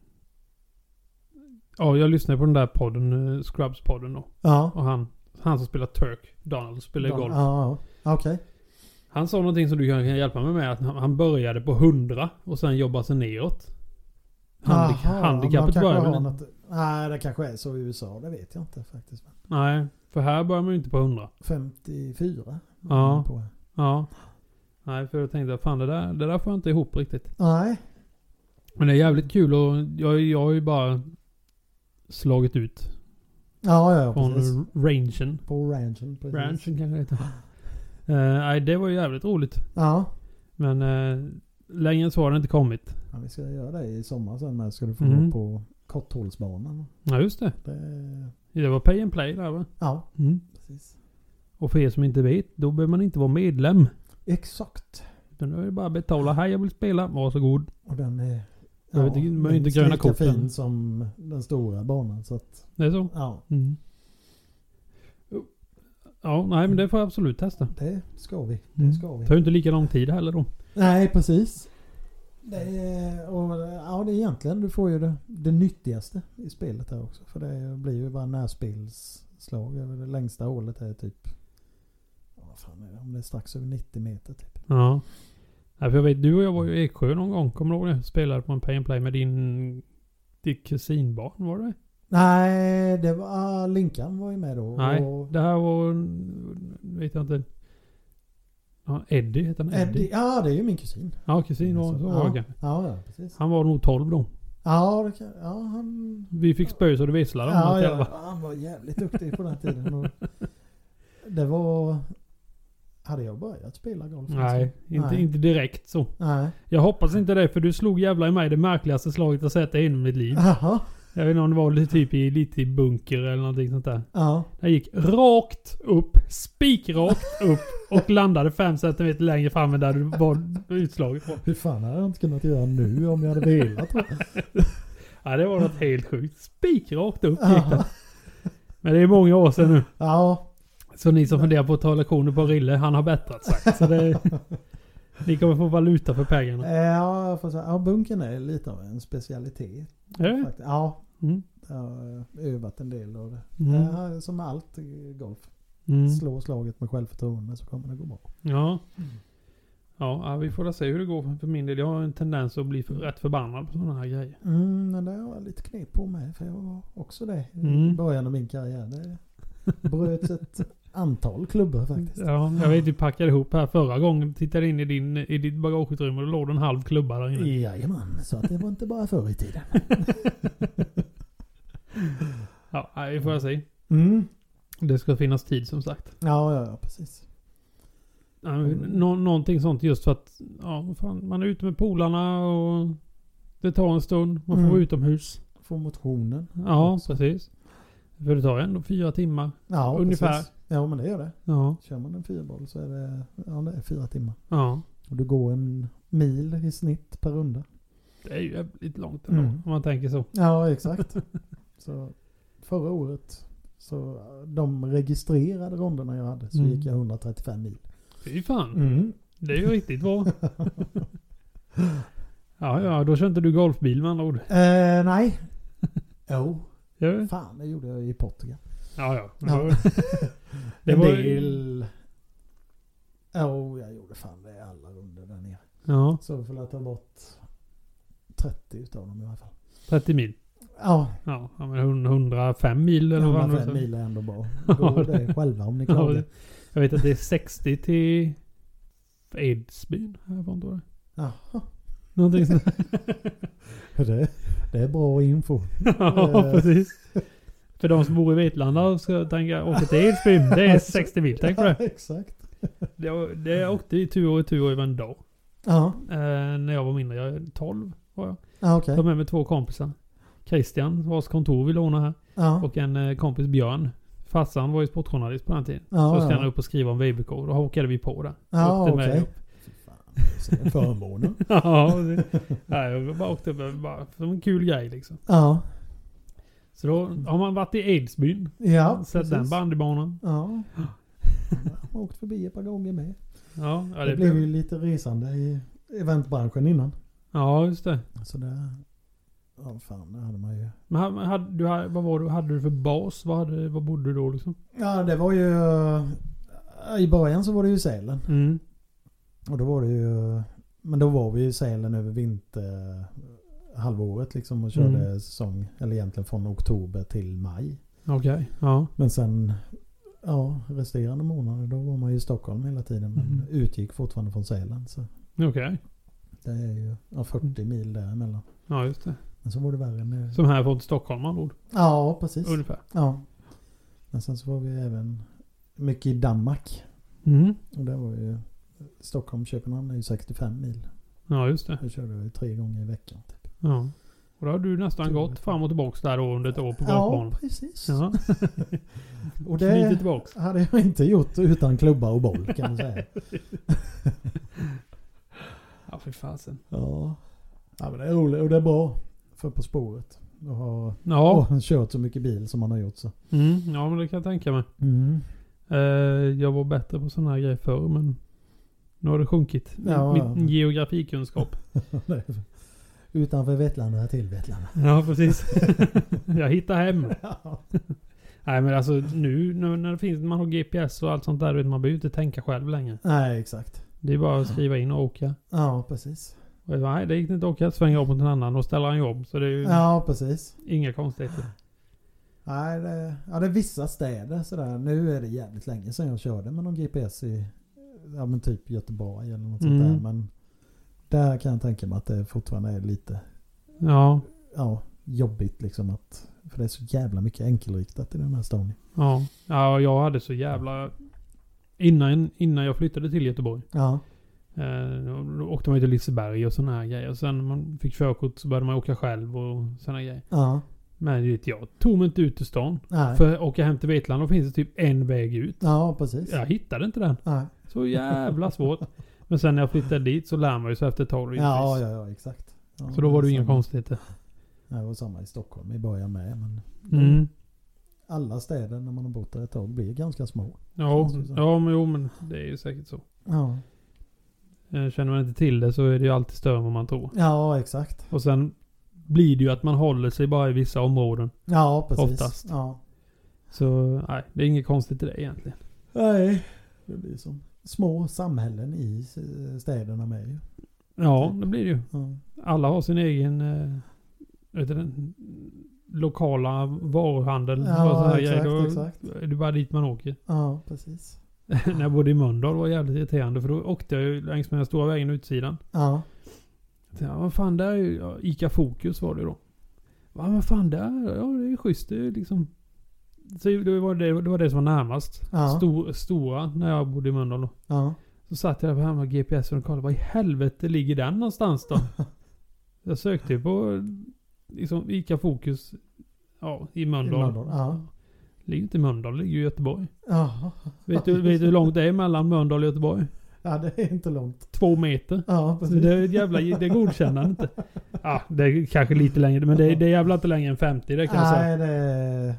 B: Ja, jag lyssnade på den där podden. eh, Scrubs-podden då.
A: ja.
B: Och han, han som spelar Turk, Donald, spelar golf.
A: Ja, ja. okej.
B: Han sa någonting som du kanske kan hjälpa mig med. Att han han började på 100 och sen jobbade sig neråt. Handik-
A: Jaha,
B: handikappet
A: man kanske
B: börjar
A: har
B: väl
A: något- Nej, det kanske är så i USA. Det vet jag inte faktiskt. Men
B: Nej, för här börjar man ju inte på 100.
A: 54?
B: Ja.
A: På.
B: Ja. Nej, för jag tänkte att fan det där, det där får jag inte ihop riktigt.
A: Nej.
B: Men det är jävligt kul och jag, jag har ju bara slagit ut
A: Ja, ja, ja
B: från
A: precis.
B: rangen.
A: På ranchen. Precis.
B: Ranchen kanske det heter. Eh, Nej, det var ju jävligt roligt.
A: Ja.
B: Men eh, längre än så har det inte kommit.
A: ja. Vi ska göra det i sommar sen men ska du få gå
B: Mm.
A: på korthållsbanan.
B: Ja, just det.
A: Det...
B: Det var pay and play där va?
A: Ja,
B: Mm.
A: precis.
B: Och för er som inte vet, då behöver man inte vara medlem.
A: Exakt.
B: Utan då är det bara att betala. Hej, jag vill spela. Varsågod.
A: Och den är...
B: Jag vet inte, men
A: den
B: inte
A: är
B: gröna
A: lika
B: korten.
A: fin som den stora banan. Så att,
B: Det är så.
A: ja,
B: Mm. Ja, nej men det får jag absolut testa.
A: det ska vi.
B: Mm.
A: Det ska vi.
B: Det tar ju inte lika lång tid heller då.
A: Nej, precis. Det är, och, ja, det är egentligen, du får ju det, det nyttigaste i spelet här också. För det blir ju bara närspelsslag. över Det längsta hålet är typ... ja, Vad fan är det? Om det är strax över 90 meter typ.
B: Ja. Nej, för jag vet, du och jag var ju i Eksjö någon gång. Kommer du ihåg det? Spelade på en pay and play med din... Ditt kusinbarn var det?
A: Nej, det var, ah, Linkan var ju med då.
B: Nej,
A: Och
B: det här var... Vet jag inte. Ja, Eddie heter han.
A: Eddie,
B: Eddie.
A: ja, det är ju min kusin.
B: Ja, kusin var, så var det
A: ja,
B: kanske.
A: ja, ja, precis.
B: Han var nog 12 då.
A: Ja, det kan, ja han...
B: Vi fick spö så det visslade om
A: Ja,
B: allt
A: ja,
B: elva.
A: han var jävligt duktig på den tiden. Och det var... Hade jag börjat spela golf?
B: Nej, inte,
A: Nej.
B: inte direkt så.
A: Nej.
B: Jag hoppas inte det för du slog jävla i mig det märkligaste slaget jag sett i hela mitt liv.
A: Jaha.
B: Jag vet inte om det var lite typ i, lite i bunker eller någonting sånt där.
A: Ja.
B: Den gick rakt upp, spikrakt upp och landade fem centimeter längre fram än där du var utslaget från.
A: Hur fan hade jag inte kunnat göra nu om jag hade velat?
B: Ja, det var något helt sjukt. Spikrakt upp gick den.
A: Jaha.
B: Men det är många år sedan nu.
A: Ja.
B: Så ni som funderar på att ta lektioner på Rille, han har bättrat sagt. Så det, ni kommer få valuta för pengarna.
A: Eh, Ja, jag får säga, ja, bunken är lite av en specialitet.
B: Är det?
A: Faktiskt. Ja,
B: Mm.
A: jag har övat en del av det.
B: Mm.
A: Ja, som med allt i golf.
B: Mm.
A: Slå slaget med självförtroende så kommer det gå bra.
B: Ja. Ja, ja, vi får väl se hur det går för min del. Jag har en tendens att bli för, rätt förbannad på sådana här grejer.
A: Mm, men det har jag lite knep på med. För jag var också det i
B: Mm.
A: början av min karriär. Det bröts ett antal klubbor faktiskt.
B: Ja, jag vet vi packade ihop här förra gången. Tittade in i, din, i ditt bagageutrymme och då låg det en halv klubba där inne.
A: Jajamän, så att det var inte bara förr i tiden.
B: Ja, ja, vi får se.
A: Mm.
B: Det ska finnas tid som sagt.
A: Ja, ja, ja, precis.
B: Ja, men Nå, någonting sånt just för att ja, fan, man är ute med polarna och det tar en stund. Man får
A: Mm.
B: vara utomhus.
A: Få motionen.
B: Ja, precis. För det tar ju ändå fyra timmar.
A: Ja,
B: Ungefär.
A: Precis. Ja, men det gör det.
B: Ja,
A: Kör man en fyrboll så är det, ja, det är fyra timmar.
B: ja.
A: Och du går en mil i snitt per runda.
B: Det är ju jävligt långt ändå
A: Mm.
B: om man tänker så.
A: Ja, exakt. så förra året, så de registrerade ronderna jag hade, så
B: Mm.
A: gick jag 135 mil.
B: Fy fan. Det är ju riktigt bra. ja, ja, då kör inte du golfbil med andra ord.
A: Eh, nej. Jo,
B: Gör du?
A: fan det gjorde jag i Portugal.
B: Ja, ja.
A: Ja.
B: Det
A: en
B: var-
A: del... Jo, jag gjorde fan det i alla runder där nere.
B: ja.
A: Så får jag ta bort 30 utav dem i alla fall.
B: 30 mil.
A: Ja,
B: Ja, ja, men hund- 105 mil eller vad det
A: 105
B: var.
A: mil är ändå bra. Gå det själva om ni
B: Ja,
A: klagar.
B: jag vet att det är 60 till Edsbyn. Här var inte det.
A: Jaha.
B: Någonting sånt.
A: Det, det är bra info.
B: ja,
A: Eh.
B: precis. För de som bor i Vetlanda ska tänka åka till Edsbyn. Det är 60 mil. Tänk på det.
A: Ja, exakt.
B: Det, det åkte i tur och retur över en dag.
A: Ja,
B: Eh, när jag var mindre. Jag 12 var jag.
A: ja okej.
B: Jag var med med två kompisar. Christian, vars kontor vi lånade här.
A: Ja.
B: Och en eh, kompis Björn. Farsan var ju sportjournalist på den tiden.
A: Ja,
B: så ska
A: ja.
B: han upp och skriva om VBK. Då hakade vi på där.
A: Ja,
B: Åkte med
A: okej.
B: upp.
A: Fy fan, vilka Förmåner.
B: ja, det, nej, jag bara åkte upp bara som en kul grej liksom.
A: Ja,
B: Så då har man varit i Edsbyn.
A: ja.
B: sett den
A: precis.
B: bandybanan.
A: Ja. Jag har åkt förbi ett par gånger med.
B: Ja, ja,
A: Det,
B: det
A: blev ju lite resande i eventbranschen innan.
B: ja just det.
A: Så det... Ja, fan det hade man ju.
B: Men hade, hade, du, hade- vad var du, hade du för bas? Vad, hade, vad bodde du då liksom?
A: Ja, det var ju... eh, I början så var det ju Sälen.
B: Mm.
A: Och då var det ju... Men då var vi i Sälen över vinterhalvåret liksom och körde
B: Mm.
A: säsong. Eller egentligen från oktober till maj.
B: Okej, ja.
A: Men sen... Ja, resterande månader då var man ju i Stockholm hela tiden. Men
B: Mhm.
A: utgick fortfarande från Sälen. Så
B: Okej.
A: det är ju ja, 40 mil däremellan.
B: Ja, just det.
A: Men så var det värre när...
B: Som här från Stockholm med andra ord.
A: Ja, precis.
B: Ungefär.
A: Ja. Men sen så var vi även mycket i Danmark.
B: Mm.
A: Och där var ju Stockholm-Köpenhamn är ju 65 mil.
B: Ja, just det.
A: Det körde vi tre gånger i veckan. Typ.
B: Ja. Och då har du nästan
A: Tur.
B: gått fram och tillbaks där då under ett år på
A: Ja,
B: golfbanan.
A: precis.
B: Ja.
A: Och
B: Knyter
A: det
B: tillbaks.
A: hade jag inte gjort utan klubba och boll kan man säga.
B: Ja, fy fasen.
A: Ja. ja, men det är roligt och det är bra för På spåret. Att ha
B: Ja.
A: och kört så mycket bil som man har gjort så.
B: Mm. ja, men det kan jag tänka mig.
A: Mm.
B: Eh, jag var bättre på sådana här grejer förr, men nu har det sjunkit.
A: Ja, ja.
B: Min geografikunskap.
A: Utanför Vetlanda till Vetlanda.
B: Ja, precis. jag hittar hem.
A: Ja.
B: Nej, men alltså nu, nu när det finns, man har GPS och allt sånt där, du vet, man behöver ju inte tänka själv längre.
A: Nej, exakt.
B: Det är bara att skriva in och åka.
A: Ja, precis.
B: Och jag bara, Nej, det gick inte att åka. Svänger om mot en annan och ställer en jobb. Så det är ju
A: Ja, precis.
B: inga konstigheter.
A: Nej, det, ja, det är vissa städer sådär. Nu är det jävligt länge sedan jag körde med någon GPS i ja, men typ Göteborg eller något sånt
B: Mm.
A: där. Men där kan jag tänka mig att det fortfarande är lite
B: Ja.
A: ja, jobbigt liksom att... För det är så jävla mycket enkelriktat i den här stan.
B: Ja. Ja, jag hade så jävla... Innan, innan jag flyttade till Göteborg.
A: Ja.
B: Eh, och då åkte man ju till Liseberg och sådana här grejer. Och sen när man fick körkort så började man åka själv och sådana här grejer.
A: Ja.
B: Men du vet, jag tog mig inte ut ur stan.
A: Nej.
B: För att åka hem till Vetlanda finns det typ en väg ut.
A: Ja, precis.
B: Jag hittade inte den.
A: Nej.
B: Så jävla svårt. Men sen när jag flyttade dit så lär man ju sig efter ett tag.
A: Ja,
B: givetvis.
A: ja, ja, exakt. Ja,
B: Så då var det ju inga
A: samma-
B: konstigheter.
A: Nej, Det var samma i Stockholm i början med. Men
B: Mm.
A: alla städer när man har bott där ett tag blir ganska små.
B: Ja,
A: Känns det så.
B: ja, men, jo, men det är ju säkert så.
A: Ja,
B: Eh, Känner man inte till det så är det ju alltid större än vad man tror.
A: ja exakt.
B: Och sen blir det ju att man håller sig bara i vissa områden.
A: Ja, precis.
B: Oftast.
A: Ja.
B: Så nej, det är inget konstigt i det egentligen.
A: Nej, det blir som små samhällen i eh, städerna med ju.
B: Ja, det blir det ju.
A: Ja.
B: Alla har sin egen eh, vet du, den lokala varuhandel.
A: Ja,
B: Och såna här
A: exakt,
B: grejer. Då-
A: exakt.
B: Det är bara dit man åker.
A: ja, precis.
B: När jag bodde i Mölndal var det jävligt irriterande för då åkte jag ju längs med den stora vägen utsidan.
A: Ja,
B: Jag tänkte, Ja, vad fan där är ju ja, Ica Fokus var det ju då. Va, vad fan där? Ja, det är ju schysst. Det är ju liksom... Så det, var det, det var det som var närmast.
A: Ja.
B: Stor, stora när jag bodde i Mölndal då.
A: ja.
B: Så satt jag där hemma med GPSen och kollade. Var i helvete ligger den någonstans då? jag sökte ju på liksom Ica Fokus ja, i Mölndal.
A: I Mölndal, ja.
B: Ligger inte i Mölndal, det ligger ju i Göteborg.
A: Ja,
B: Vet du, vet du hur långt det är mellan Mölndal och Göteborg?
A: ja det är inte långt.
B: Två meter.
A: Ja,
B: Så
A: precis.
B: det är ett jävla, det godkänner han inte. Ja, det är kanske lite längre, men det är, det är jävla inte längre än 50 det kan jag säga.
A: Nej, det är...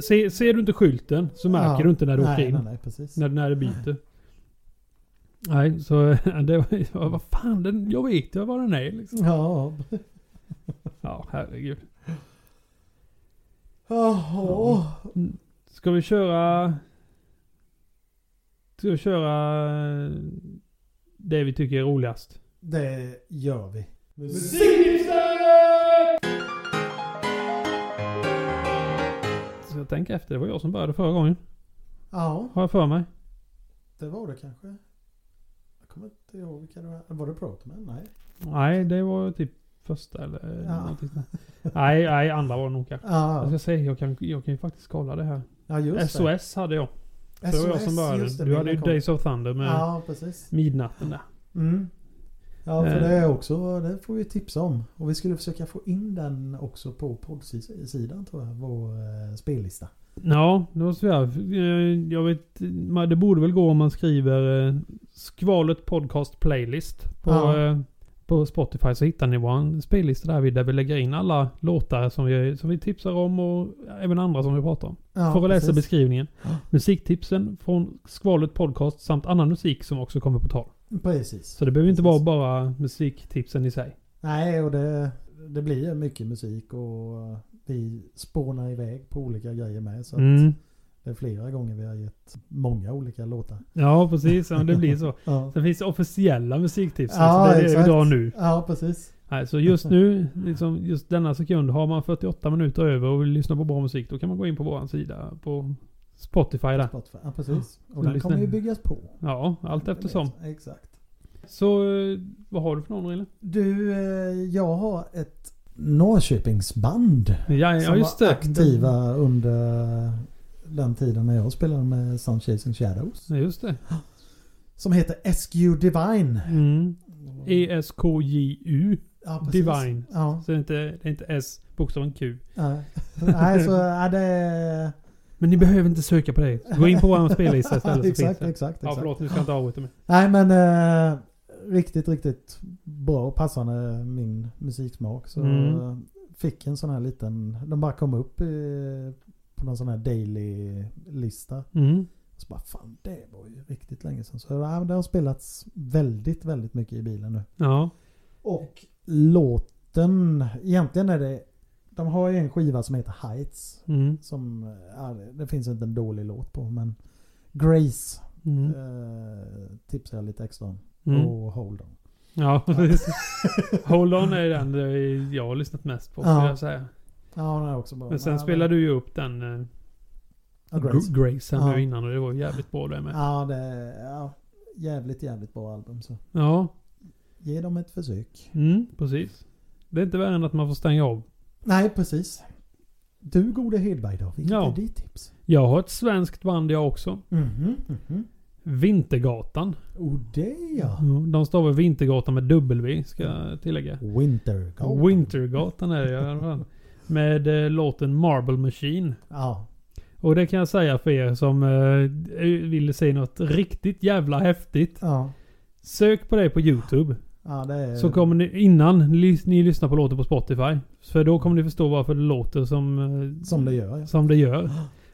B: Se, ser du inte skylten så märker
A: Ja.
B: du inte när du åker
A: nej,
B: in.
A: nej, nej, precis.
B: När, när det byter. Nej, så det var, ja, vad fan, den, jag vet ju var den är liksom.
A: Ja,
B: Ja, herregud.
A: jaha.
B: Ska vi köra... Ska vi köra det vi tycker är roligast?
A: Det gör vi.
B: Så jag tänker efter, det var jag som började förra gången.
A: Ja,
B: Har jag för mig.
A: det var det kanske. Jag kommer inte ihåg vilka det var. Var det Protoman? Nej.
B: Nej, det var typ första eller
A: Ja.
B: någonting sånt. där. Nej, nej, andra var det nog kanske. Jag
A: Ja,
B: ska säga, jag kan, jag kan ju faktiskt kolla det här.
A: ja just det.
B: SOS hade jag. Så det var jag som
A: just det,
B: började. Du hade ju
A: bilden kom.
B: Days of Thunder med
A: Ja, precis.
B: midnatten där.
A: Mm. Ja, för
B: Eh.
A: det är också, det får vi tipsa om. Och vi skulle försöka få in den också på poddsidan tror jag, vår eh, spellista.
B: Ja, det var så jag. eh, Jag vet, man- det borde väl gå om man skriver eh, Skvalet Podcast Playlist på,
A: Ja.
B: eh, på Spotify så hittar ni vår spellista där vi, där vi lägger in alla låtar som vi, som vi tipsar om och även andra som vi pratar om.
A: Ja,
B: För att läsa
A: precis.
B: beskrivningen.
A: Ja.
B: Musiktipsen från Skvalet Podcast samt annan musik som också kommer på tal.
A: Precis.
B: Så det behöver inte vara
A: Precis.
B: bara musiktipsen i sig.
A: Nej, och det, det blir ju mycket musik och vi spånar iväg på olika grejer med. Så att
B: Mm.
A: det är flera gånger vi har gett många olika låtar.
B: Ja, precis. Ja, det blir så.
A: Ja,
B: Sen finns det officiella musiktips.
A: Ja,
B: så det är det vi
A: exakt.
B: drar nu.
A: ja precis.
B: Nej, så just nu, liksom, just denna sekund, har man 48 minuter över och vill lyssna på bra musik, då kan man gå in på vår sida på Spotify där.
A: Spotify. Ja, precis.
B: Så
A: Och den
B: lyssna.
A: kommer ju byggas på.
B: Ja, allt eftersom.
A: Exakt.
B: Så eh, vad har du för någon Rille?
A: Du, eh, jag har ett Norrköpingsband.
B: Ja, ja,
A: som
B: just
A: var
B: det.
A: aktiva under den tiden när jag spelade med Sun Chasing Shadows.
B: Ja, just det.
A: Som heter SQ Divine.
B: Mm. E-S-K-J-U.
A: Ja, precis.
B: Divine.
A: Ja.
B: Så det är, inte, det är inte S, bokstaven Q.
A: Nej, Nej, så är det...
B: Men ni behöver inte söka på det. Gå in på vår spellista istället så finns
A: exakt,
B: det.
A: exakt,
B: Ja,
A: exakt.
B: förlåt. Nu ska jag inte avbryta mig.
A: Nej, men eh, riktigt, riktigt bra och passande min musiksmak. Så
B: Mm.
A: eh, fick en sån här liten... De bara kom upp eh, på någon sån här daily-lista.
B: Mm.
A: Så bara fan det var ju riktigt länge sedan. Så ja, men det har spelats väldigt, väldigt mycket i bilen nu.
B: Ja.
A: Och låten, egentligen är det, de har ju en skiva som heter Heights.
B: Mm.
A: Som, ja, det- det finns inte en dålig låt på men Grace
B: Mm.
A: eh, oh. tipsar jag lite extra om.
B: Mm.
A: Och Hold On.
B: Ja, precis. Hold On är den där jag har lyssnat mest på.
A: Ja.
B: Ja. Jag säga.
A: Ja, den är också bra.
B: Men sen spelade du ju upp den eh,
A: ja, Grace.
B: Grace, Grace här
A: Ja.
B: nu innan och det var ju jävligt bra det med.
A: Ja, det är ja, jävligt, jävligt bra album. Så
B: Ja,
A: ge dem ett försök.
B: mm, precis. Det är inte värre än att man får stänga av.
A: Nej, precis. Du gode Hedberg då, vilket
B: Ja.
A: är ditt tips?
B: Jag har ett svenskt band jag också.
A: Mhm, mhm.
B: Vintergatan.
A: Och det ja.
B: Ja, De stavar Vintergatan med W, ska jag tillägga.
A: Wintergatan.
B: Wintergatan är det i alla fall. Med eh, låten Marble Machine.
A: Ja.
B: Och det kan jag säga för er som eh, vill se något riktigt jävla häftigt.
A: Ja.
B: Sök på det på YouTube.
A: ja det är...
B: Så kommer ni innan lys- ni lyssnar på låten på Spotify. För då kommer ni förstå varför det låter som, eh,
A: Som det gör ja.
B: som det gör.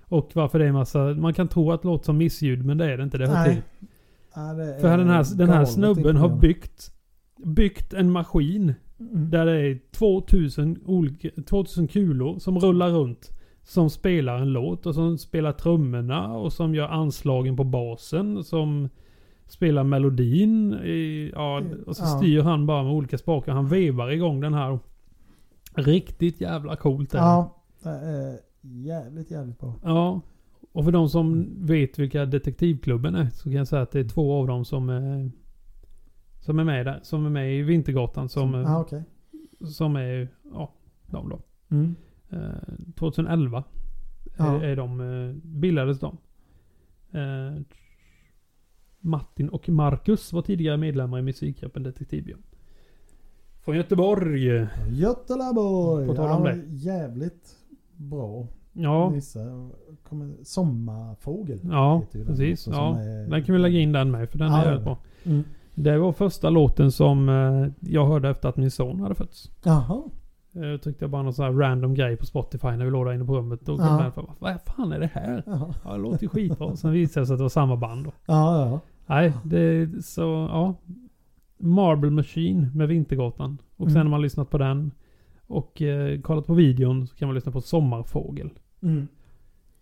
B: Och varför det är en massa... Man kan tro att det låter som missljud men det är det inte. Det hör
A: Nej.
B: till.
A: Ja, det är
B: För den här, den här
A: galet
B: snubben har
A: imponerande.
B: byggt, byggt en maskin
A: Mm.
B: där det är 2000, olika, 2000 kulor som rullar runt. Som spelar en låt och som spelar trummorna och som gör anslagen på basen. Som spelar melodin. I, ja, och så
A: Ja.
B: styr han bara med olika spakar. Han vevar igång den här. Riktigt jävla coolt är det.
A: Ja. Det är jävligt, jävligt bra.
B: Ja. Och för de som vet vilka Detektivklubben är så kan jag säga att det är två av dem som är, som är med där. Som är med i Vintergatan. Som,
A: Ja, okej.
B: som är ja, de då.
A: Mm.
B: Eh, 2011
A: Ja.
B: är, är de, eh, bildades de. Eh, Martin och Marcus var tidigare medlemmar i musikgruppen Detektivbyrån. Från Göteborg.
A: Göteborg!
B: På tal om
A: Ja,
B: det.
A: Jävligt bra.
B: Ja,
A: Nisse. Kommer, sommarfågel.
B: Ja,
A: heter ju den
B: precis.
A: också,
B: Ja,
A: som är-
B: den kan vi lägga in den med för den
A: Ja,
B: är
A: det
B: jävligt
A: är
B: bra.
A: Mm.
B: Det var första låten som eh, jag hörde efter att min son hade fötts.
A: Jaha.
B: Jag tyckte jag bara någon sån här random grej på Spotify när vi låg där inne på rummet. Och
A: Ja.
B: ja. Vad fan är det här?
A: Ja,
B: Ja, det låter ju skitbra. Sen visade det sig att det var samma band då.
A: ja. ja.
B: Nej, det så ja. Marble Machine med Vintergatan. Och sen
A: Mm.
B: när man har lyssnat på den och eh, kollat på videon så kan man lyssna på Sommarfågel.
A: Mm.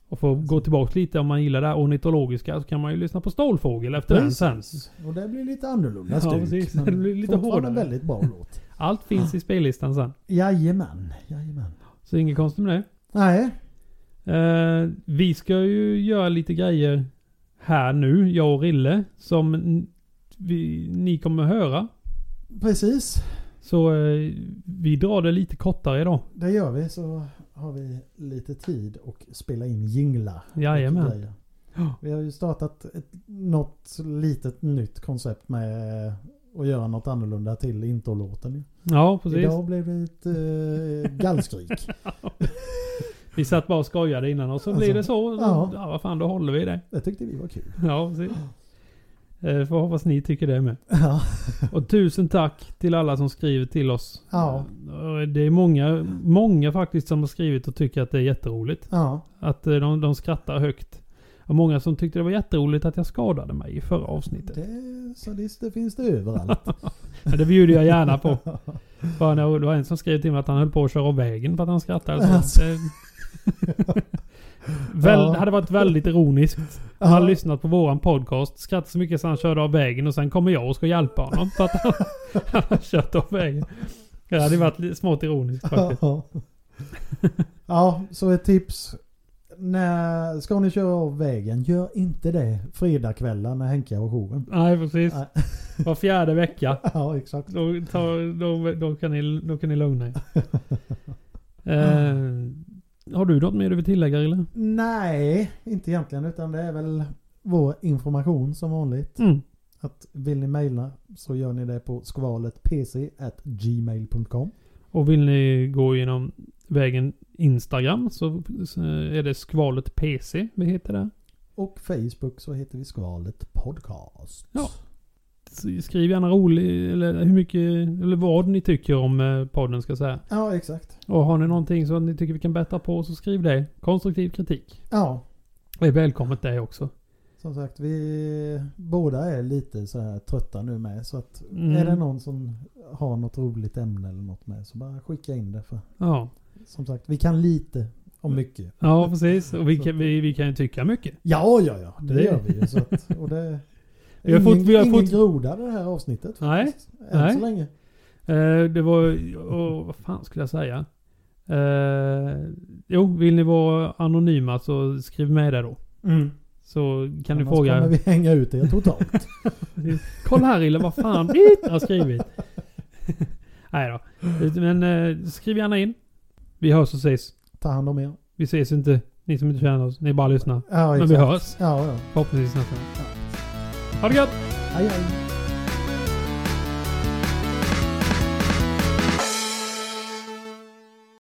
B: Och för att gå tillbaka lite om man gillar det här ornitologiska så kan man ju lyssna på Stålfågel efter den sen.
A: Och det blir lite annorlunda
B: Ja,
A: stuk.
B: precis.
A: men
B: Det blir lite
A: fortfarande
B: hårdare.
A: en väldigt bra låt.
B: Allt finns i spellistan sen.
A: Jajamän. Jajamän.
B: Så inget konstigt med det.
A: Nej.
B: Eh, vi ska ju göra lite grejer här nu, jag och Rille, som n- vi, ni kommer höra.
A: Precis.
B: Så eh, vi drar det lite kortare idag.
A: Det gör vi. Så har vi lite tid och spela in jinglar.
B: Jajamän.
A: Och grejer.
B: Ja.
A: Vi har ju startat ett, något litet nytt koncept med att göra något annorlunda till introlåten. ju.
B: Ja, precis.
A: Idag blev det ett äh, gallskrik.
B: Vi satt bara och skojade innan och så
A: Alltså,
B: blir det så. Ja.
A: ja.
B: ja, vad fan, då håller vi det.
A: det tyckte vi var kul.
B: Ja, precis. Eh, Får hoppas ni tycker det med.
A: Ja.
B: Och tusen tack till alla som skriver till oss.
A: Ja.
B: Eh, Det är många, många faktiskt som har skrivit och tycker att det är jätteroligt.
A: Ja.
B: Att eh, de, de skrattar högt. Och många som tyckte det var jätteroligt att jag skadade mig i förra avsnittet.
A: Det, sadister finns det överallt.
B: Men det bjuder jag gärna på. Bara när det var en som skrev till mig att han höll på att köra av vägen för att han skrattade. Så
A: Alltså.
B: det... Väl,
A: Ja.
B: Det hade varit väldigt ironiskt. om Han hade lyssnat på våran podcast, skrattat så mycket så han körde av vägen och sen kommer jag och ska hjälpa honom för att han, han har kört av vägen. Ja, Det hade varit li- smått ironiskt faktiskt.
A: Ja. ja, så ett tips. När, ska ni köra av vägen, gör inte det fredagkvällar när Henka har jouren.
B: Nej, precis.
A: Nej.
B: Var fjärde vecka.
A: Ja, exakt.
B: Då, tar, då, då, kan, ni, då kan ni lugna er. Eh, har du något mer du vill tillägga Rille?
A: Nej, inte egentligen. Utan det är väl vår information som vanligt.
B: Mm.
A: Att vill ni mejla så gör ni det på skvaletpc.gmail.com.
B: Och vill ni gå genom vägen Instagram så så är det skvalet PC vi heter där.
A: Och Facebook så heter vi Skvalet Podcast.
B: Ja. Så Skriv gärna rolig, eller hur mycket, eller vad ni tycker om eh, podden ska jag säga.
A: Ja, exakt.
B: Och har ni någonting som ni tycker vi kan bättra på så skriv det. Konstruktiv kritik.
A: Ja,
B: Det är välkommet det också.
A: Som sagt, vi båda är lite så här trötta nu med. Så att
B: Mm.
A: är det någon som har något roligt ämne eller något med så bara skicka in det. För
B: Ja,
A: som sagt, vi kan lite om
B: Mm.
A: mycket.
B: ja precis. Och vi kan, vi, vi kan ju tycka mycket.
A: Ja, ja, ja. Det,
B: Det-
A: gör vi ju. Så att, och det,
B: Mm. Vi har
A: ingen,
B: fått- vi har
A: ingen
B: fått-
A: groda det här avsnittet.
B: Nej,
A: faktiskt. Än
B: nej.
A: så länge.
B: Eh, det var, och, vad fan skulle jag säga? Eh, jo, vill ni vara anonyma så skriv med det då.
A: Mm.
B: Så kan du
A: Annars
B: fråga.
A: kommer vi hänga ut er totalt.
B: Kolla här Rille, vad fan Pete har skrivit. Nej då. Men eh, skriv gärna in. Vi hörs och ses.
A: Ta hand om er.
B: Vi ses inte. Ni som inte känner oss. Ni bara lyssnar.
A: Ja,
B: Men vi
A: exakt.
B: hörs.
A: Ja, ja.
B: Förhoppningsvis nästa gång. Ha det gött!
A: Hej, hej.